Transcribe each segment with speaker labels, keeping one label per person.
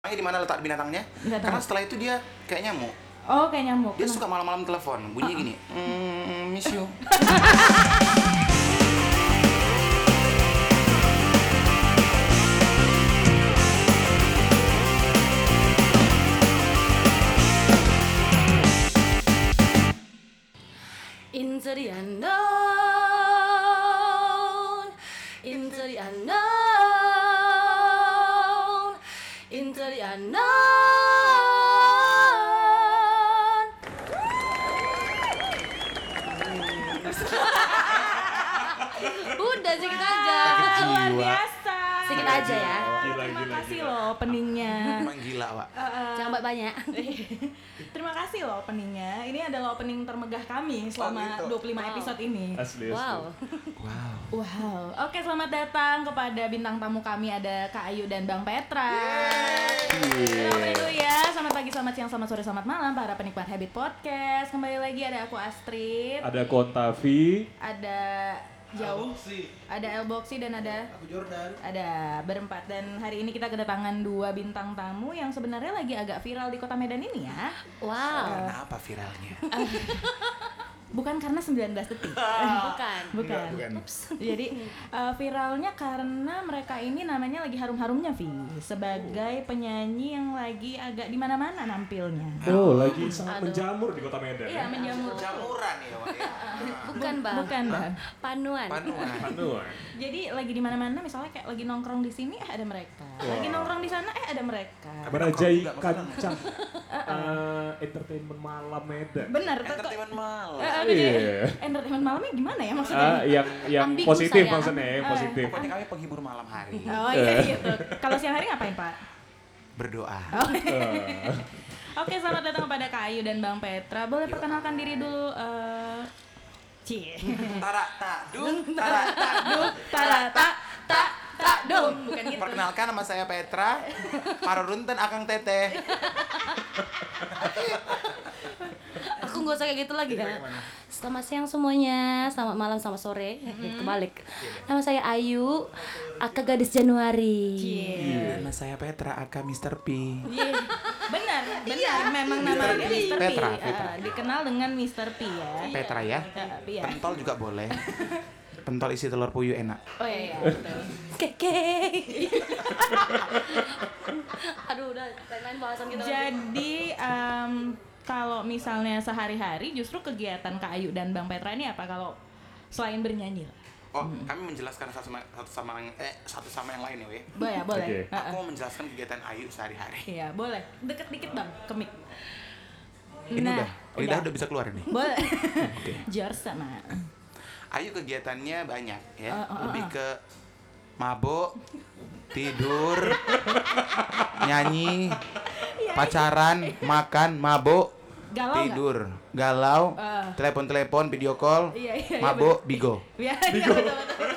Speaker 1: eh di mana letak binatangnya?
Speaker 2: Nggak tahu.
Speaker 1: Karena setelah itu dia kayak nyamuk.
Speaker 2: Oh, kayak nyamuk.
Speaker 1: Dia
Speaker 2: Kenapa?
Speaker 1: suka malam-malam telepon, bunyinya gini. Mm, miss you.
Speaker 3: Into the unknown. Into the unknown. Into the unknown. Udah sedikit aja.
Speaker 1: Sakit
Speaker 2: Luar
Speaker 1: jiwa.
Speaker 2: biasa.
Speaker 3: Sedikit aja ya.
Speaker 4: Gila,
Speaker 2: Terima
Speaker 4: gila,
Speaker 2: kasih
Speaker 4: gila.
Speaker 2: loh openingnya.
Speaker 1: Emang gila, Pak.
Speaker 3: Jangan buat banyak.
Speaker 2: Terima kasih loh openingnya. Ini adalah opening termegah kami selama
Speaker 1: gitu.
Speaker 2: 25
Speaker 3: Wow.
Speaker 2: episode ini.
Speaker 4: Asli, asli.
Speaker 3: Wow.
Speaker 2: Wow. Oke, selamat datang kepada bintang tamu kami ada Kak Ayu dan Bang Petra. Selamat dulu ya. Selamat pagi, selamat siang, selamat sore, selamat malam para penikmat Habit Podcast. Kembali lagi ada aku Astrid,
Speaker 4: Ada Kontavi,
Speaker 2: ada Jauh, ada Elboxi dan ada
Speaker 5: Aku Jordan.
Speaker 2: ada berempat dan hari ini kita kedatangan dua bintang tamu yang sebenarnya lagi agak viral di Kota Medan ini ya.
Speaker 3: Wow.
Speaker 1: Kenapa viralnya?
Speaker 2: Bukan karena 19 detik.
Speaker 3: Bukan.
Speaker 2: Bukan. Jadi uh, viralnya karena mereka ini namanya lagi harum-harumnya Vi sebagai penyanyi yang lagi agak di mana-mana nampilnya.
Speaker 4: Oh, lagi sangat menjamur di kota Medan.
Speaker 2: Iya,
Speaker 4: ya.
Speaker 2: menjamur.
Speaker 1: Jamuran ya, Pak. ya?
Speaker 3: Bukan, Bang.
Speaker 2: Bukan, Bang.
Speaker 3: Panuan.
Speaker 1: Panuan.
Speaker 4: Anu, eh.
Speaker 2: Jadi lagi di mana-mana misalnya kayak lagi nongkrong di sini eh ada mereka. Lagi nongkrong di sana eh ada mereka.
Speaker 4: merajai
Speaker 1: Nongkrong juga,
Speaker 4: kancah eh, entertainment malam Medan.
Speaker 2: Bener tuh kok.
Speaker 1: Entertainment malam.
Speaker 2: Eh, aduh,
Speaker 4: Iya.
Speaker 2: jadi entertainment malamnya gimana ya maksudnya?
Speaker 4: Ah, yang yang
Speaker 3: Ambigu
Speaker 4: positif
Speaker 3: saya.
Speaker 4: maksudnya, yang
Speaker 2: Ah.
Speaker 4: positif.
Speaker 1: Pokoknya kami penghibur malam hari.
Speaker 2: Oh iya gitu. Kalau siang hari ngapain Pak?
Speaker 1: Berdoa.
Speaker 4: Eh,
Speaker 2: Oke selamat datang kepada Kak Ayu dan Bang Petra. Boleh perkenalkan diri dulu. eh Cie.
Speaker 1: Tara tak dung, tara tak dung.
Speaker 2: Tara tak tak tak dong. Bukan gitu.
Speaker 1: Perkenalkan nama saya Petra. Parorunten Akang Teteh.
Speaker 3: Aku nggak usah kayak gitu lagi ya. Selamat siang semuanya, selamat malam, selamat sore, kebalik. Nama saya Ayu, Aka Gadis Januari.
Speaker 1: Iya. Nama saya Petra Aka Mr. P.
Speaker 2: Iya. Benar, benar. Memang namanya Mr. P.
Speaker 1: Petra,
Speaker 2: Ah,
Speaker 1: Petra.
Speaker 2: dikenal dengan Mr. P ya.
Speaker 1: Petra ya.
Speaker 2: Ah, P ya.
Speaker 1: Pentol juga boleh. Pentol isi telur puyuh enak.
Speaker 2: Oh iya, iya betul.
Speaker 3: Keke. Aduh, udah lain-lain bahasan kita. lagi.
Speaker 2: Jadi em, kalau misalnya sehari-hari justru kegiatan Kak Ayu dan Bang Petra ini apa kalau selain bernyanyi? lah?
Speaker 1: Oh,
Speaker 2: Hmm.
Speaker 1: kami menjelaskan satu sama satu sama yang- eh satu sama yang lain ya, Wei.
Speaker 2: Boleh, boleh.
Speaker 4: Oke.
Speaker 2: Ah, ah.
Speaker 1: Aku mau menjelaskan kegiatan Ayu sehari-hari.
Speaker 2: Iya, boleh. Deket dikit Bang, ke mic.
Speaker 1: Ini
Speaker 2: Nah,
Speaker 1: udah, lidah udah bisa keluar ini.
Speaker 2: Boleh. Jar sama.
Speaker 1: Ayu kegiatannya banyak ya,
Speaker 2: Oh, oh, oh,
Speaker 1: lebih
Speaker 2: oh.
Speaker 1: ke mabok, tidur,
Speaker 2: Iya,
Speaker 1: nyanyi, pacaran, makan, mabok,
Speaker 2: Galau nggak?
Speaker 1: tidur, galau,
Speaker 2: Eh.
Speaker 1: telepon-telepon, video call,
Speaker 2: Iya, iya, iya,
Speaker 1: mabok, bigo,
Speaker 2: Iya, iya betul, betul.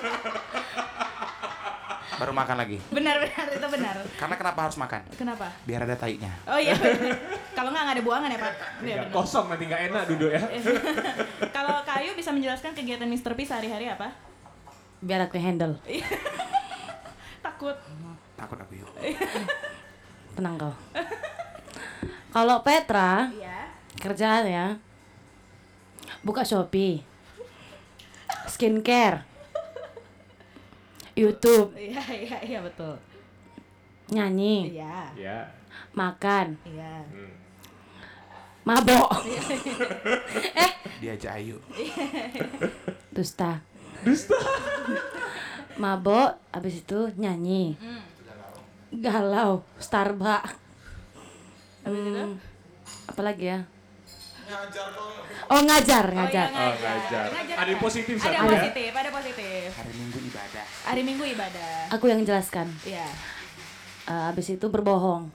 Speaker 1: baru makan lagi.
Speaker 2: Benar, benar itu benar.
Speaker 1: Karena kenapa harus makan?
Speaker 2: Kenapa?
Speaker 1: Biar ada taiknya.
Speaker 2: Oh iya. benar. Kalau nggak nggak ada buangan ya Pak. Iya
Speaker 4: nggak
Speaker 2: benar.
Speaker 4: kosong nanti nggak enak duduk ya.
Speaker 2: Kalau Kayu bisa menjelaskan kegiatan Mr. P sehari-hari apa?
Speaker 3: Biar aku handle.
Speaker 2: Takut.
Speaker 1: Takut aku yuk.
Speaker 2: Eh.
Speaker 3: Tenang kau. Kalau Petra,
Speaker 2: Iya.
Speaker 3: kerjaannya buka Shopee. Skincare. YouTube,
Speaker 2: Iya, iya, iya betul.
Speaker 3: nyanyi,
Speaker 2: Iya.
Speaker 4: Ya.
Speaker 3: makan,
Speaker 2: Iya.
Speaker 4: Hmm.
Speaker 3: mabok,
Speaker 1: Diajak Ayu.
Speaker 3: dusta. Dusta. Mabok, abis itu nyanyi.
Speaker 2: Hmm.
Speaker 3: Galau, Starbucks. Hmm, apalagi ya? Oh ngajar, ngajar.
Speaker 2: iya, kan?
Speaker 4: Oh, ngajar. Ada yang positif
Speaker 2: Ada
Speaker 4: satu ya?
Speaker 2: positif, ada positif.
Speaker 1: Hari Minggu ibadah.
Speaker 2: Hari Minggu ibadah.
Speaker 3: Aku yang jelaskan.
Speaker 2: Iya.
Speaker 3: Eh, abis itu berbohong.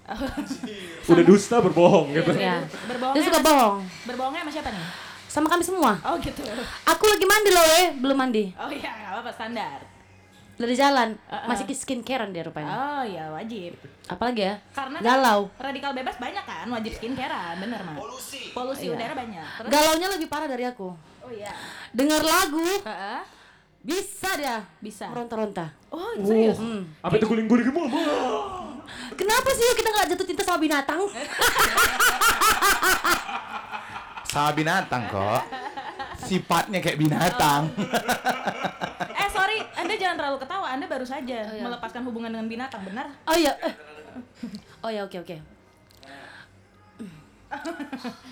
Speaker 4: Udah dusta berbohong gitu.
Speaker 3: Ya.
Speaker 2: Berbohong.
Speaker 3: Dia suka bohong
Speaker 2: Berbohongnya sama siapa nih?
Speaker 3: sama kami semua.
Speaker 2: Oh gitu.
Speaker 3: Aku lagi mandi loh, eh. belum mandi.
Speaker 2: Oh iya, nggak apa-apa standar.
Speaker 3: Dari jalan,
Speaker 2: Uh-uh.
Speaker 3: masih skincarean dia rupanya.
Speaker 2: Oh iya, wajib.
Speaker 3: Apalagi ya?
Speaker 2: Karena
Speaker 3: Galau.
Speaker 2: radikal bebas banyak kan, wajib skincarean, bener mah.
Speaker 1: Polusi.
Speaker 2: Polusi
Speaker 3: Iya.
Speaker 2: udara banyak. Terus,
Speaker 3: Galaunya lebih parah dari aku.
Speaker 2: oh iya.
Speaker 3: Dengar lagu
Speaker 2: Heeh.
Speaker 3: bisa dia
Speaker 2: Bisa.
Speaker 3: ronta-ronta.
Speaker 4: Uh.
Speaker 2: Oh, serius?
Speaker 4: Apa itu guling-guling mulu?
Speaker 3: Kenapa sih kita nggak jatuh cinta sama binatang?
Speaker 1: Sama binatang kok. Sifatnya kayak binatang.
Speaker 2: Eh sorry, Anda jangan terlalu ketawa. Anda baru saja
Speaker 3: Oh, iya.
Speaker 2: melepaskan hubungan dengan binatang, benar?
Speaker 3: Oh iya. eh. Oh ya, oke oke.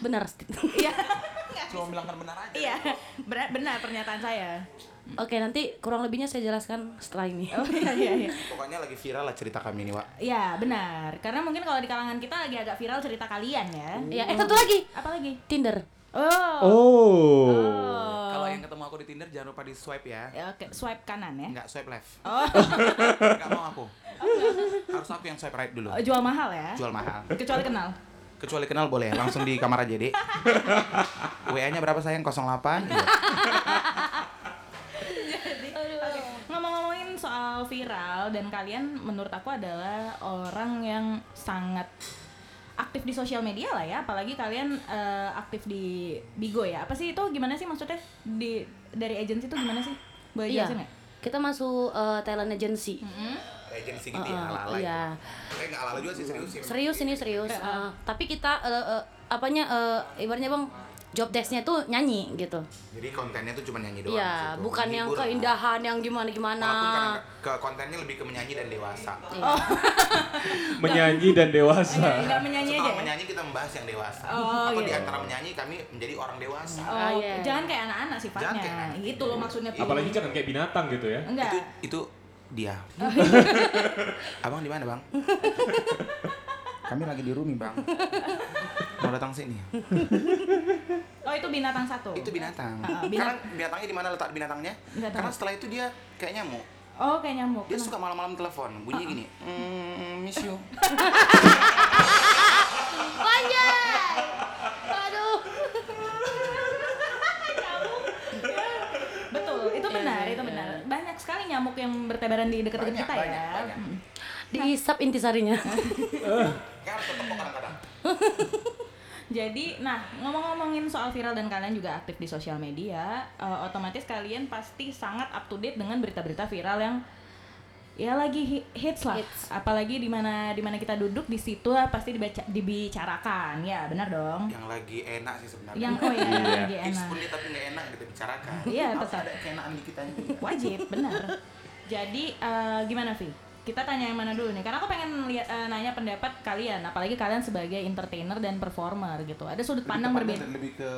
Speaker 3: Benar, Stit.
Speaker 2: Iya,
Speaker 6: Cuma bilang kan benar aja.
Speaker 2: iya, benar, benar pernyataan saya.
Speaker 3: Oke, nanti kurang lebihnya saya jelaskan setelah ini.
Speaker 2: Oh iya iya. iya.
Speaker 6: Pokoknya lagi viral lah cerita kami ini, Wak.
Speaker 2: Iya benar. Karena mungkin kalau di kalangan kita lagi agak viral cerita kalian ya.
Speaker 3: Ya, eh satu lagi.
Speaker 2: Apa lagi?
Speaker 3: Tinder.
Speaker 2: Oh.
Speaker 4: Oh.
Speaker 6: Kalau yang ketemu aku di Tinder jangan lupa di swipe ya.
Speaker 2: Ya, Oke, swipe kanan ya.
Speaker 6: Enggak swipe left.
Speaker 2: Oh,
Speaker 6: Enggak mau aku. Harus aku yang swipe right dulu.
Speaker 2: jual mahal ya.
Speaker 6: Jual mahal.
Speaker 2: Kecuali kenal.
Speaker 6: Kecuali kenal boleh, langsung di kamar aja, Dek. WA-nya berapa sayang? 08. Iya.
Speaker 2: Ngomong-ngomongin soal viral dan kalian menurut aku adalah orang yang sangat aktif di sosial media lah ya, apalagi kalian eh, aktif di Bigo ya. Apa sih itu gimana sih maksudnya di dari agensi itu gimana sih? Boleh
Speaker 3: Iya.
Speaker 2: jelasin nggak?
Speaker 3: Kita masuk eh, talent agency.
Speaker 6: Agensi gitu ya,
Speaker 3: Heeh,
Speaker 6: ala-ala.
Speaker 3: iya.
Speaker 6: gitu. Eh, nggak ala-ala juga sih, serius sih.
Speaker 3: Serius ini serius. Eh, tapi kita eh, eh, apanya eh, ibaratnya Bang job desk-nya tuh nyanyi gitu.
Speaker 6: Jadi kontennya tuh cuma nyanyi doang. di
Speaker 3: Iya,
Speaker 6: situ.
Speaker 3: bukan yang
Speaker 6: Menghibur.
Speaker 3: keindahan yang gimana-gimana.
Speaker 6: Walaupun kadang ke kontennya lebih ke menyanyi dan dewasa.
Speaker 4: Menyanyi dan
Speaker 2: Enggak,
Speaker 4: dewasa.
Speaker 2: enggak menyanyi aja.
Speaker 6: Setelah
Speaker 2: ya?
Speaker 6: menyanyi kita membahas yang dewasa.
Speaker 2: Oh,
Speaker 6: Atau
Speaker 2: iya.
Speaker 6: di antara menyanyi kami menjadi orang dewasa.
Speaker 2: Oh,
Speaker 3: Ah, iya.
Speaker 2: jangan kayak anak-anak sifatnya.
Speaker 6: Jangan kayak anak.
Speaker 2: Gitu loh maksudnya. Pi.
Speaker 4: Apalagi jangan kayak binatang gitu ya.
Speaker 2: enggak. Oh, iya.
Speaker 6: Itu itu dia. Abang di mana, Bang? Kami lagi di Rumi, Bang. Mau datang sini.
Speaker 2: Oh, itu binatang satu.
Speaker 6: Itu binatang.
Speaker 2: Ah, ah,
Speaker 6: Karena
Speaker 2: binat-
Speaker 6: binatangnya di mana letak binatangnya?
Speaker 2: Nggak tahu.
Speaker 6: Karena setelah itu dia kayak nyamuk.
Speaker 2: Oh, kayak nyamuk.
Speaker 6: Dia
Speaker 2: Kenapa?
Speaker 6: suka malam-malam telepon.
Speaker 2: Ah,
Speaker 6: Bunyinya gini. Mm, miss you.
Speaker 3: Panjang. Aduh.
Speaker 2: Betul, itu
Speaker 3: Iya,
Speaker 2: benar, itu benar. Banyak sekali nyamuk yang bertebaran di dekat
Speaker 6: Banyak,
Speaker 2: kita ya.
Speaker 6: banyak, banyak.
Speaker 2: Hmm.
Speaker 3: Dihisap intisarinya.
Speaker 6: Kan harus tetep kok kadang-kadang.
Speaker 2: Jadi, nah ngomong-ngomongin soal viral dan kalian juga aktif di sosial media, eh, otomatis kalian pasti sangat up to date dengan berita-berita viral yang ya lagi hi- hits lah.
Speaker 3: Hits.
Speaker 2: Apalagi di mana di mana kita duduk di situ lah pasti dibaca, dibicarakan, ya benar dong.
Speaker 6: Yang lagi enak sih sebenarnya.
Speaker 2: Yang oh ya,
Speaker 4: Iya.
Speaker 2: lagi
Speaker 6: Tips
Speaker 2: enak.
Speaker 6: pun dia tapi nggak enak kita bicarakan.
Speaker 2: Iya,
Speaker 6: Harus
Speaker 2: tetap.
Speaker 6: Ada keenaan di kita ini.
Speaker 2: Wajib, benar. Jadi eh, gimana Vi? Kita tanya yang mana dulu nih? Karena aku pengen lihat eh, nanya pendapat kalian, apalagi kalian sebagai entertainer dan performer gitu. Ada sudut pandang ya.
Speaker 6: Lebih ke
Speaker 2: berbeda.
Speaker 6: lebih ke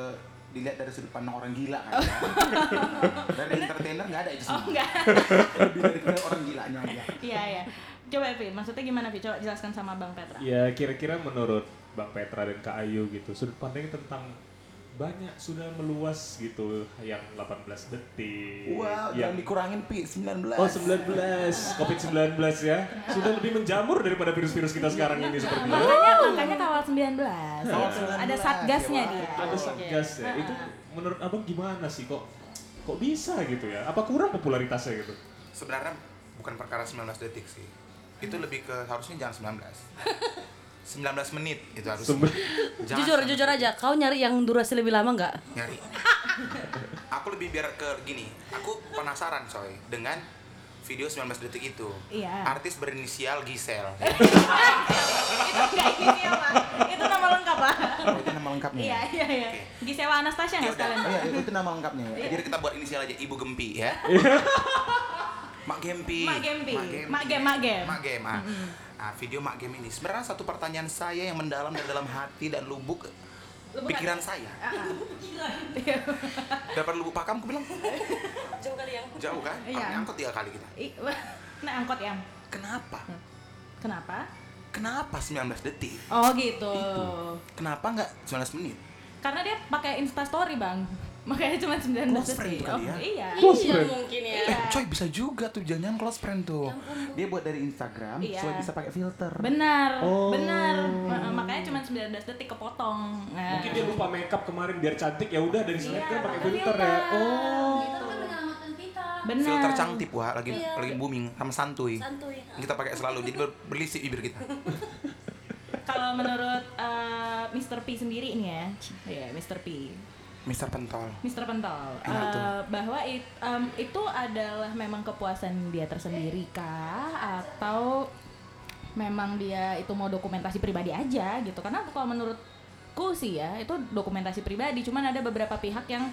Speaker 6: dilihat dari sudut pandang orang gila kan. ya. dari entertainer nggak ada
Speaker 2: Oh
Speaker 6: itu semua.
Speaker 2: enggak.
Speaker 6: Lebih dari ke orang gilanya aja.
Speaker 2: Iya iya. Coba Vin, maksudnya gimana Vin? Coba jelaskan sama Bang Petra.
Speaker 4: Ya kira-kira menurut Bang Petra dan Kak Ayu gitu sudut pandangnya tentang banyak sudah meluas gitu yang 18 detik
Speaker 6: Wow, yang
Speaker 4: yang
Speaker 6: dikurangin pi 19.
Speaker 4: Iya. Oh 19, Covid-19 ya Sudah lebih menjamur daripada virus-virus kita sekarang ini sepertinya
Speaker 2: Makanya makanya kawal 19. gitu.
Speaker 6: 19,
Speaker 2: Ada satgasnya
Speaker 6: ya,
Speaker 2: dia.
Speaker 4: Ada satgas ya, itu menurut abang gimana sih kok kok bisa gitu ya? Apa kurang popularitasnya gitu?
Speaker 2: Iya.
Speaker 6: Sebenarnya bukan perkara 19 detik sih. Itu
Speaker 2: Hmm.
Speaker 6: lebih ke harusnya jangan 19. 19 menit itu harus.
Speaker 4: Sumber-
Speaker 6: Jangan
Speaker 3: jujur,
Speaker 6: sampai
Speaker 3: jujur aja. Kau nyari yang durasi lebih lama nggak?
Speaker 6: nyari. Aku lebih biar ke gini, aku penasaran coy dengan video 19 detik itu.
Speaker 2: Iya.
Speaker 6: Artis berinisial Gisel.
Speaker 2: Itu enggak ini ya, Pak. Itu nama lengkap, Pak.
Speaker 6: Oh, itu nama lengkapnya.
Speaker 2: Iya iya iya. Gisela Anastasia enggak
Speaker 6: Ya udah.
Speaker 2: sekalian?
Speaker 1: Oh iya, itu nama lengkapnya ya.
Speaker 6: Jadi kita buat inisial aja Ibu Gempi ya. Mak Gempi.
Speaker 2: Mak Gempi. Mak Gem, Mak Gem.
Speaker 6: Mak Gem, ah. Ah, video Mak Gem ini sebenarnya satu pertanyaan saya yang mendalam dari dalam hati dan lubuk
Speaker 2: Lubuk
Speaker 6: pikiran saya.
Speaker 2: Ah,
Speaker 6: Dapat lubuk pakam, aku bilang
Speaker 3: Jauh kali ya, yang.
Speaker 6: jauh kan?
Speaker 2: Iya.
Speaker 6: Pakai angkot tiga kali kita.
Speaker 2: Ih, wah. Nah, angkot yang.
Speaker 6: Kenapa?
Speaker 2: Hmm. Kenapa?
Speaker 6: Kenapa 19 detik?
Speaker 2: Oh gitu.
Speaker 6: Kenapa nggak 19 menit?
Speaker 2: Karena dia pakai Insta Story, Bang. Makanya cuma 19
Speaker 6: Close friend
Speaker 2: detik.
Speaker 6: kali ya.
Speaker 2: iya.
Speaker 3: Iya Ya mungkin ya.
Speaker 6: Eh, coy bisa juga tuh jangan close friend tuh. Dia buat dari Instagram,
Speaker 2: Iya.
Speaker 6: supaya bisa pakai filter.
Speaker 2: Benar,
Speaker 4: Oh.
Speaker 2: benar. Ma- Makanya cuma 19 detik kepotong. Nah.
Speaker 4: Mungkin dia lupa makeup kemarin biar cantik ya udah dari
Speaker 2: Iya,
Speaker 4: snapgram pakai
Speaker 2: pakai
Speaker 4: filter ya.
Speaker 2: filter.
Speaker 4: Oh.
Speaker 3: Itu kan menyelamatkan kita.
Speaker 2: Benar.
Speaker 6: Filter cangtip wah lagi
Speaker 3: Iya.
Speaker 6: lagi booming sama santuy.
Speaker 3: Santuy.
Speaker 6: Kita pakai selalu jadi ber- berlisik bibir kita.
Speaker 2: Kalau menurut eh, Mr. P sendiri nih ya, ya Mr. P,
Speaker 6: Mister Pentol.
Speaker 2: Mr. Pentol,
Speaker 6: Enak
Speaker 2: eh,
Speaker 6: tuh.
Speaker 2: bahwa it- em, itu adalah memang kepuasan dia tersendiri kah atau memang dia itu mau dokumentasi pribadi aja gitu. Karena kalau menurutku sih ya itu dokumentasi pribadi. Cuman ada beberapa pihak yang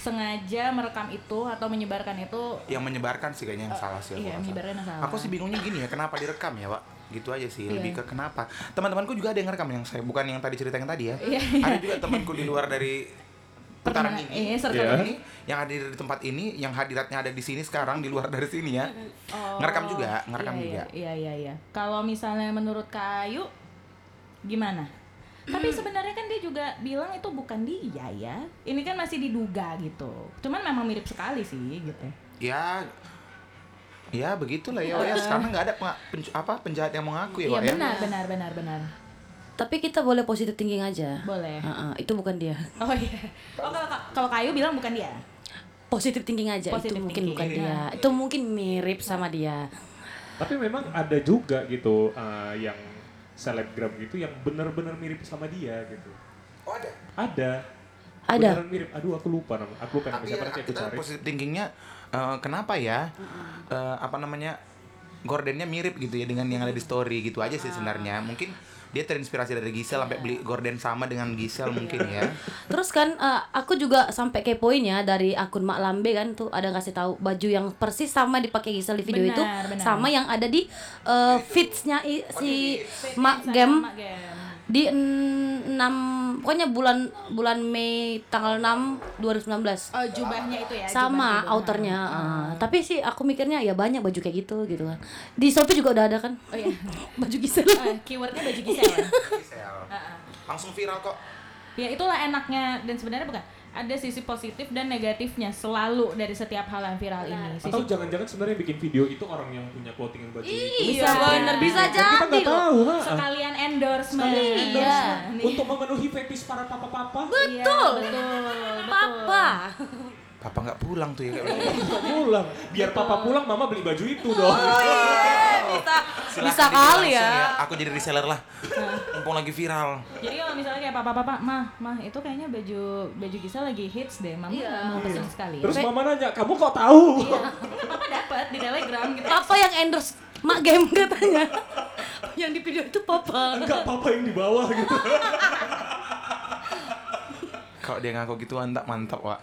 Speaker 2: sengaja merekam itu atau menyebarkan itu
Speaker 6: yang menyebarkan sih kayaknya yang salah sih aku
Speaker 2: iya,
Speaker 6: rasa.
Speaker 2: menyebarkan yang salah.
Speaker 6: aku sih bingungnya gini ya kenapa direkam ya pak gitu aja sih lebih
Speaker 2: Iya.
Speaker 6: ke kenapa teman-temanku juga ada yang ngerekam yang saya bukan yang tadi cerita yang tadi ya
Speaker 2: Iya,
Speaker 6: ada juga temanku di luar dari putaran
Speaker 2: Pertama-
Speaker 6: ini
Speaker 2: iya, circle
Speaker 4: Iya.
Speaker 6: ini yang hadir di tempat ini yang hadiratnya ada di sini sekarang di luar dari sini ya
Speaker 2: Oh,
Speaker 6: Ngerekam juga, ngerekam
Speaker 2: iya,
Speaker 6: juga.
Speaker 2: Iya, iya, iya. Kalau misalnya menurut Kak Ayu, gimana?
Speaker 6: Hmm.
Speaker 2: Tapi sebenarnya kan dia juga bilang itu bukan dia ya. Ini kan masih diduga gitu. Cuman memang mirip sekali sih gitu.
Speaker 6: ya ya begitulah ya Wak, ya sekarang nggak ada penga- penj- apa penjahat yang mau ngaku ya
Speaker 2: Iya
Speaker 6: Wak, ya
Speaker 2: benar, benar, benar, benar.
Speaker 3: Tapi kita boleh positive thinking aja.
Speaker 2: Boleh.
Speaker 3: Heeh, itu bukan dia.
Speaker 2: Oh iya. Oh, kalau kalau Kayu bilang bukan dia.
Speaker 3: Positive thinking aja.
Speaker 2: Positive
Speaker 3: itu mungkin
Speaker 2: thinking. Iya.
Speaker 3: bukan dia. Itu mungkin mirip sama dia.
Speaker 4: Tapi memang ada juga gitu eh, yang selebgram gitu yang benar-benar mirip sama dia gitu.
Speaker 6: oh ada
Speaker 4: Ada.
Speaker 3: Ada.
Speaker 4: Beneran mirip. Aduh aku lupa nama. Aku lupa nama
Speaker 6: tapi ya,
Speaker 4: siapa nanti aku
Speaker 6: Iya, kita
Speaker 4: cari.
Speaker 6: positive thinkingnya eh, kenapa ya Eh, apa namanya gordennya mirip gitu ya dengan yang ada di story gitu aja sih sebenarnya
Speaker 3: Ah.
Speaker 6: mungkin dia terinspirasi dari
Speaker 3: Iya.
Speaker 6: Gisel sampai beli gorden sama dengan Gisel mungkin ya
Speaker 3: Terus kan eh, aku juga sampai kepoin ya dari akun Mak Lambe kan tuh ada ngasih tahu baju yang persis sama dipakai Gisel di video
Speaker 2: Benar,
Speaker 3: itu
Speaker 2: benar. Oh,
Speaker 3: sama yang ada di eh, feeds-nya i- si Mak Gem
Speaker 2: Mak Gem.
Speaker 3: di en- 6 pokoknya bulan bulan Mei tanggal 6 2019
Speaker 2: Oh, jubahnya itu
Speaker 6: Iya,
Speaker 2: ya.
Speaker 3: sama
Speaker 2: jubah-jubah.
Speaker 3: outernya
Speaker 6: kan.
Speaker 3: ah. tapi sih aku mikirnya ya banyak baju kayak gitu gitu kan di Shopee juga udah ada kan
Speaker 2: Oh iya.
Speaker 3: baju Gisel
Speaker 6: Ah,
Speaker 2: Eh, keywordnya baju Gisel. ya?
Speaker 6: Gisel langsung viral kok
Speaker 2: ya itulah enaknya dan sebenarnya bukan ada sisi positif dan negatifnya selalu dari setiap hal yang viral ini sisi
Speaker 4: Atau jangan-jangan sebenarnya yang bikin video itu orang yang punya clothingan baju itu.
Speaker 3: bisa
Speaker 2: Iya.
Speaker 3: bener bisa
Speaker 4: Kan kita
Speaker 3: jadi
Speaker 4: nggak
Speaker 3: loh iya.
Speaker 4: tahu. ha.
Speaker 2: sekalian endorsement Iya,
Speaker 3: Sekalian endorsement.
Speaker 2: Nih.
Speaker 4: Untuk memenuhi fetish para papa-papa.
Speaker 2: Iya,
Speaker 3: Betul.
Speaker 2: betul
Speaker 3: papa
Speaker 6: papa nggak pulang tuh ya kayak begitu.
Speaker 4: Nggak pulang. Biar papa pulang mama beli baju itu
Speaker 3: Oh,
Speaker 4: dong.
Speaker 3: iya. bisa
Speaker 6: Silahkan
Speaker 3: bisa
Speaker 6: dibeli
Speaker 3: kali
Speaker 6: langsung
Speaker 3: ya Ah.
Speaker 6: aku jadi reseller lah mumpung lagi viral
Speaker 2: jadi kalau misalnya kayak papa papa mah mah itu kayaknya baju baju Gisel lagi hits deh mama
Speaker 3: Iya.
Speaker 2: mau pesen sekali
Speaker 4: Terus
Speaker 3: Tapi-
Speaker 4: mama nanya, kamu kok tahu?
Speaker 3: Iya.
Speaker 2: papa dapat di telegram gitu
Speaker 3: papa yang endorse mak game katanya yang di video itu papa
Speaker 4: Enggak papa yang di bawah gitu.
Speaker 6: kalau dia ngaku gitu mantap mantap wak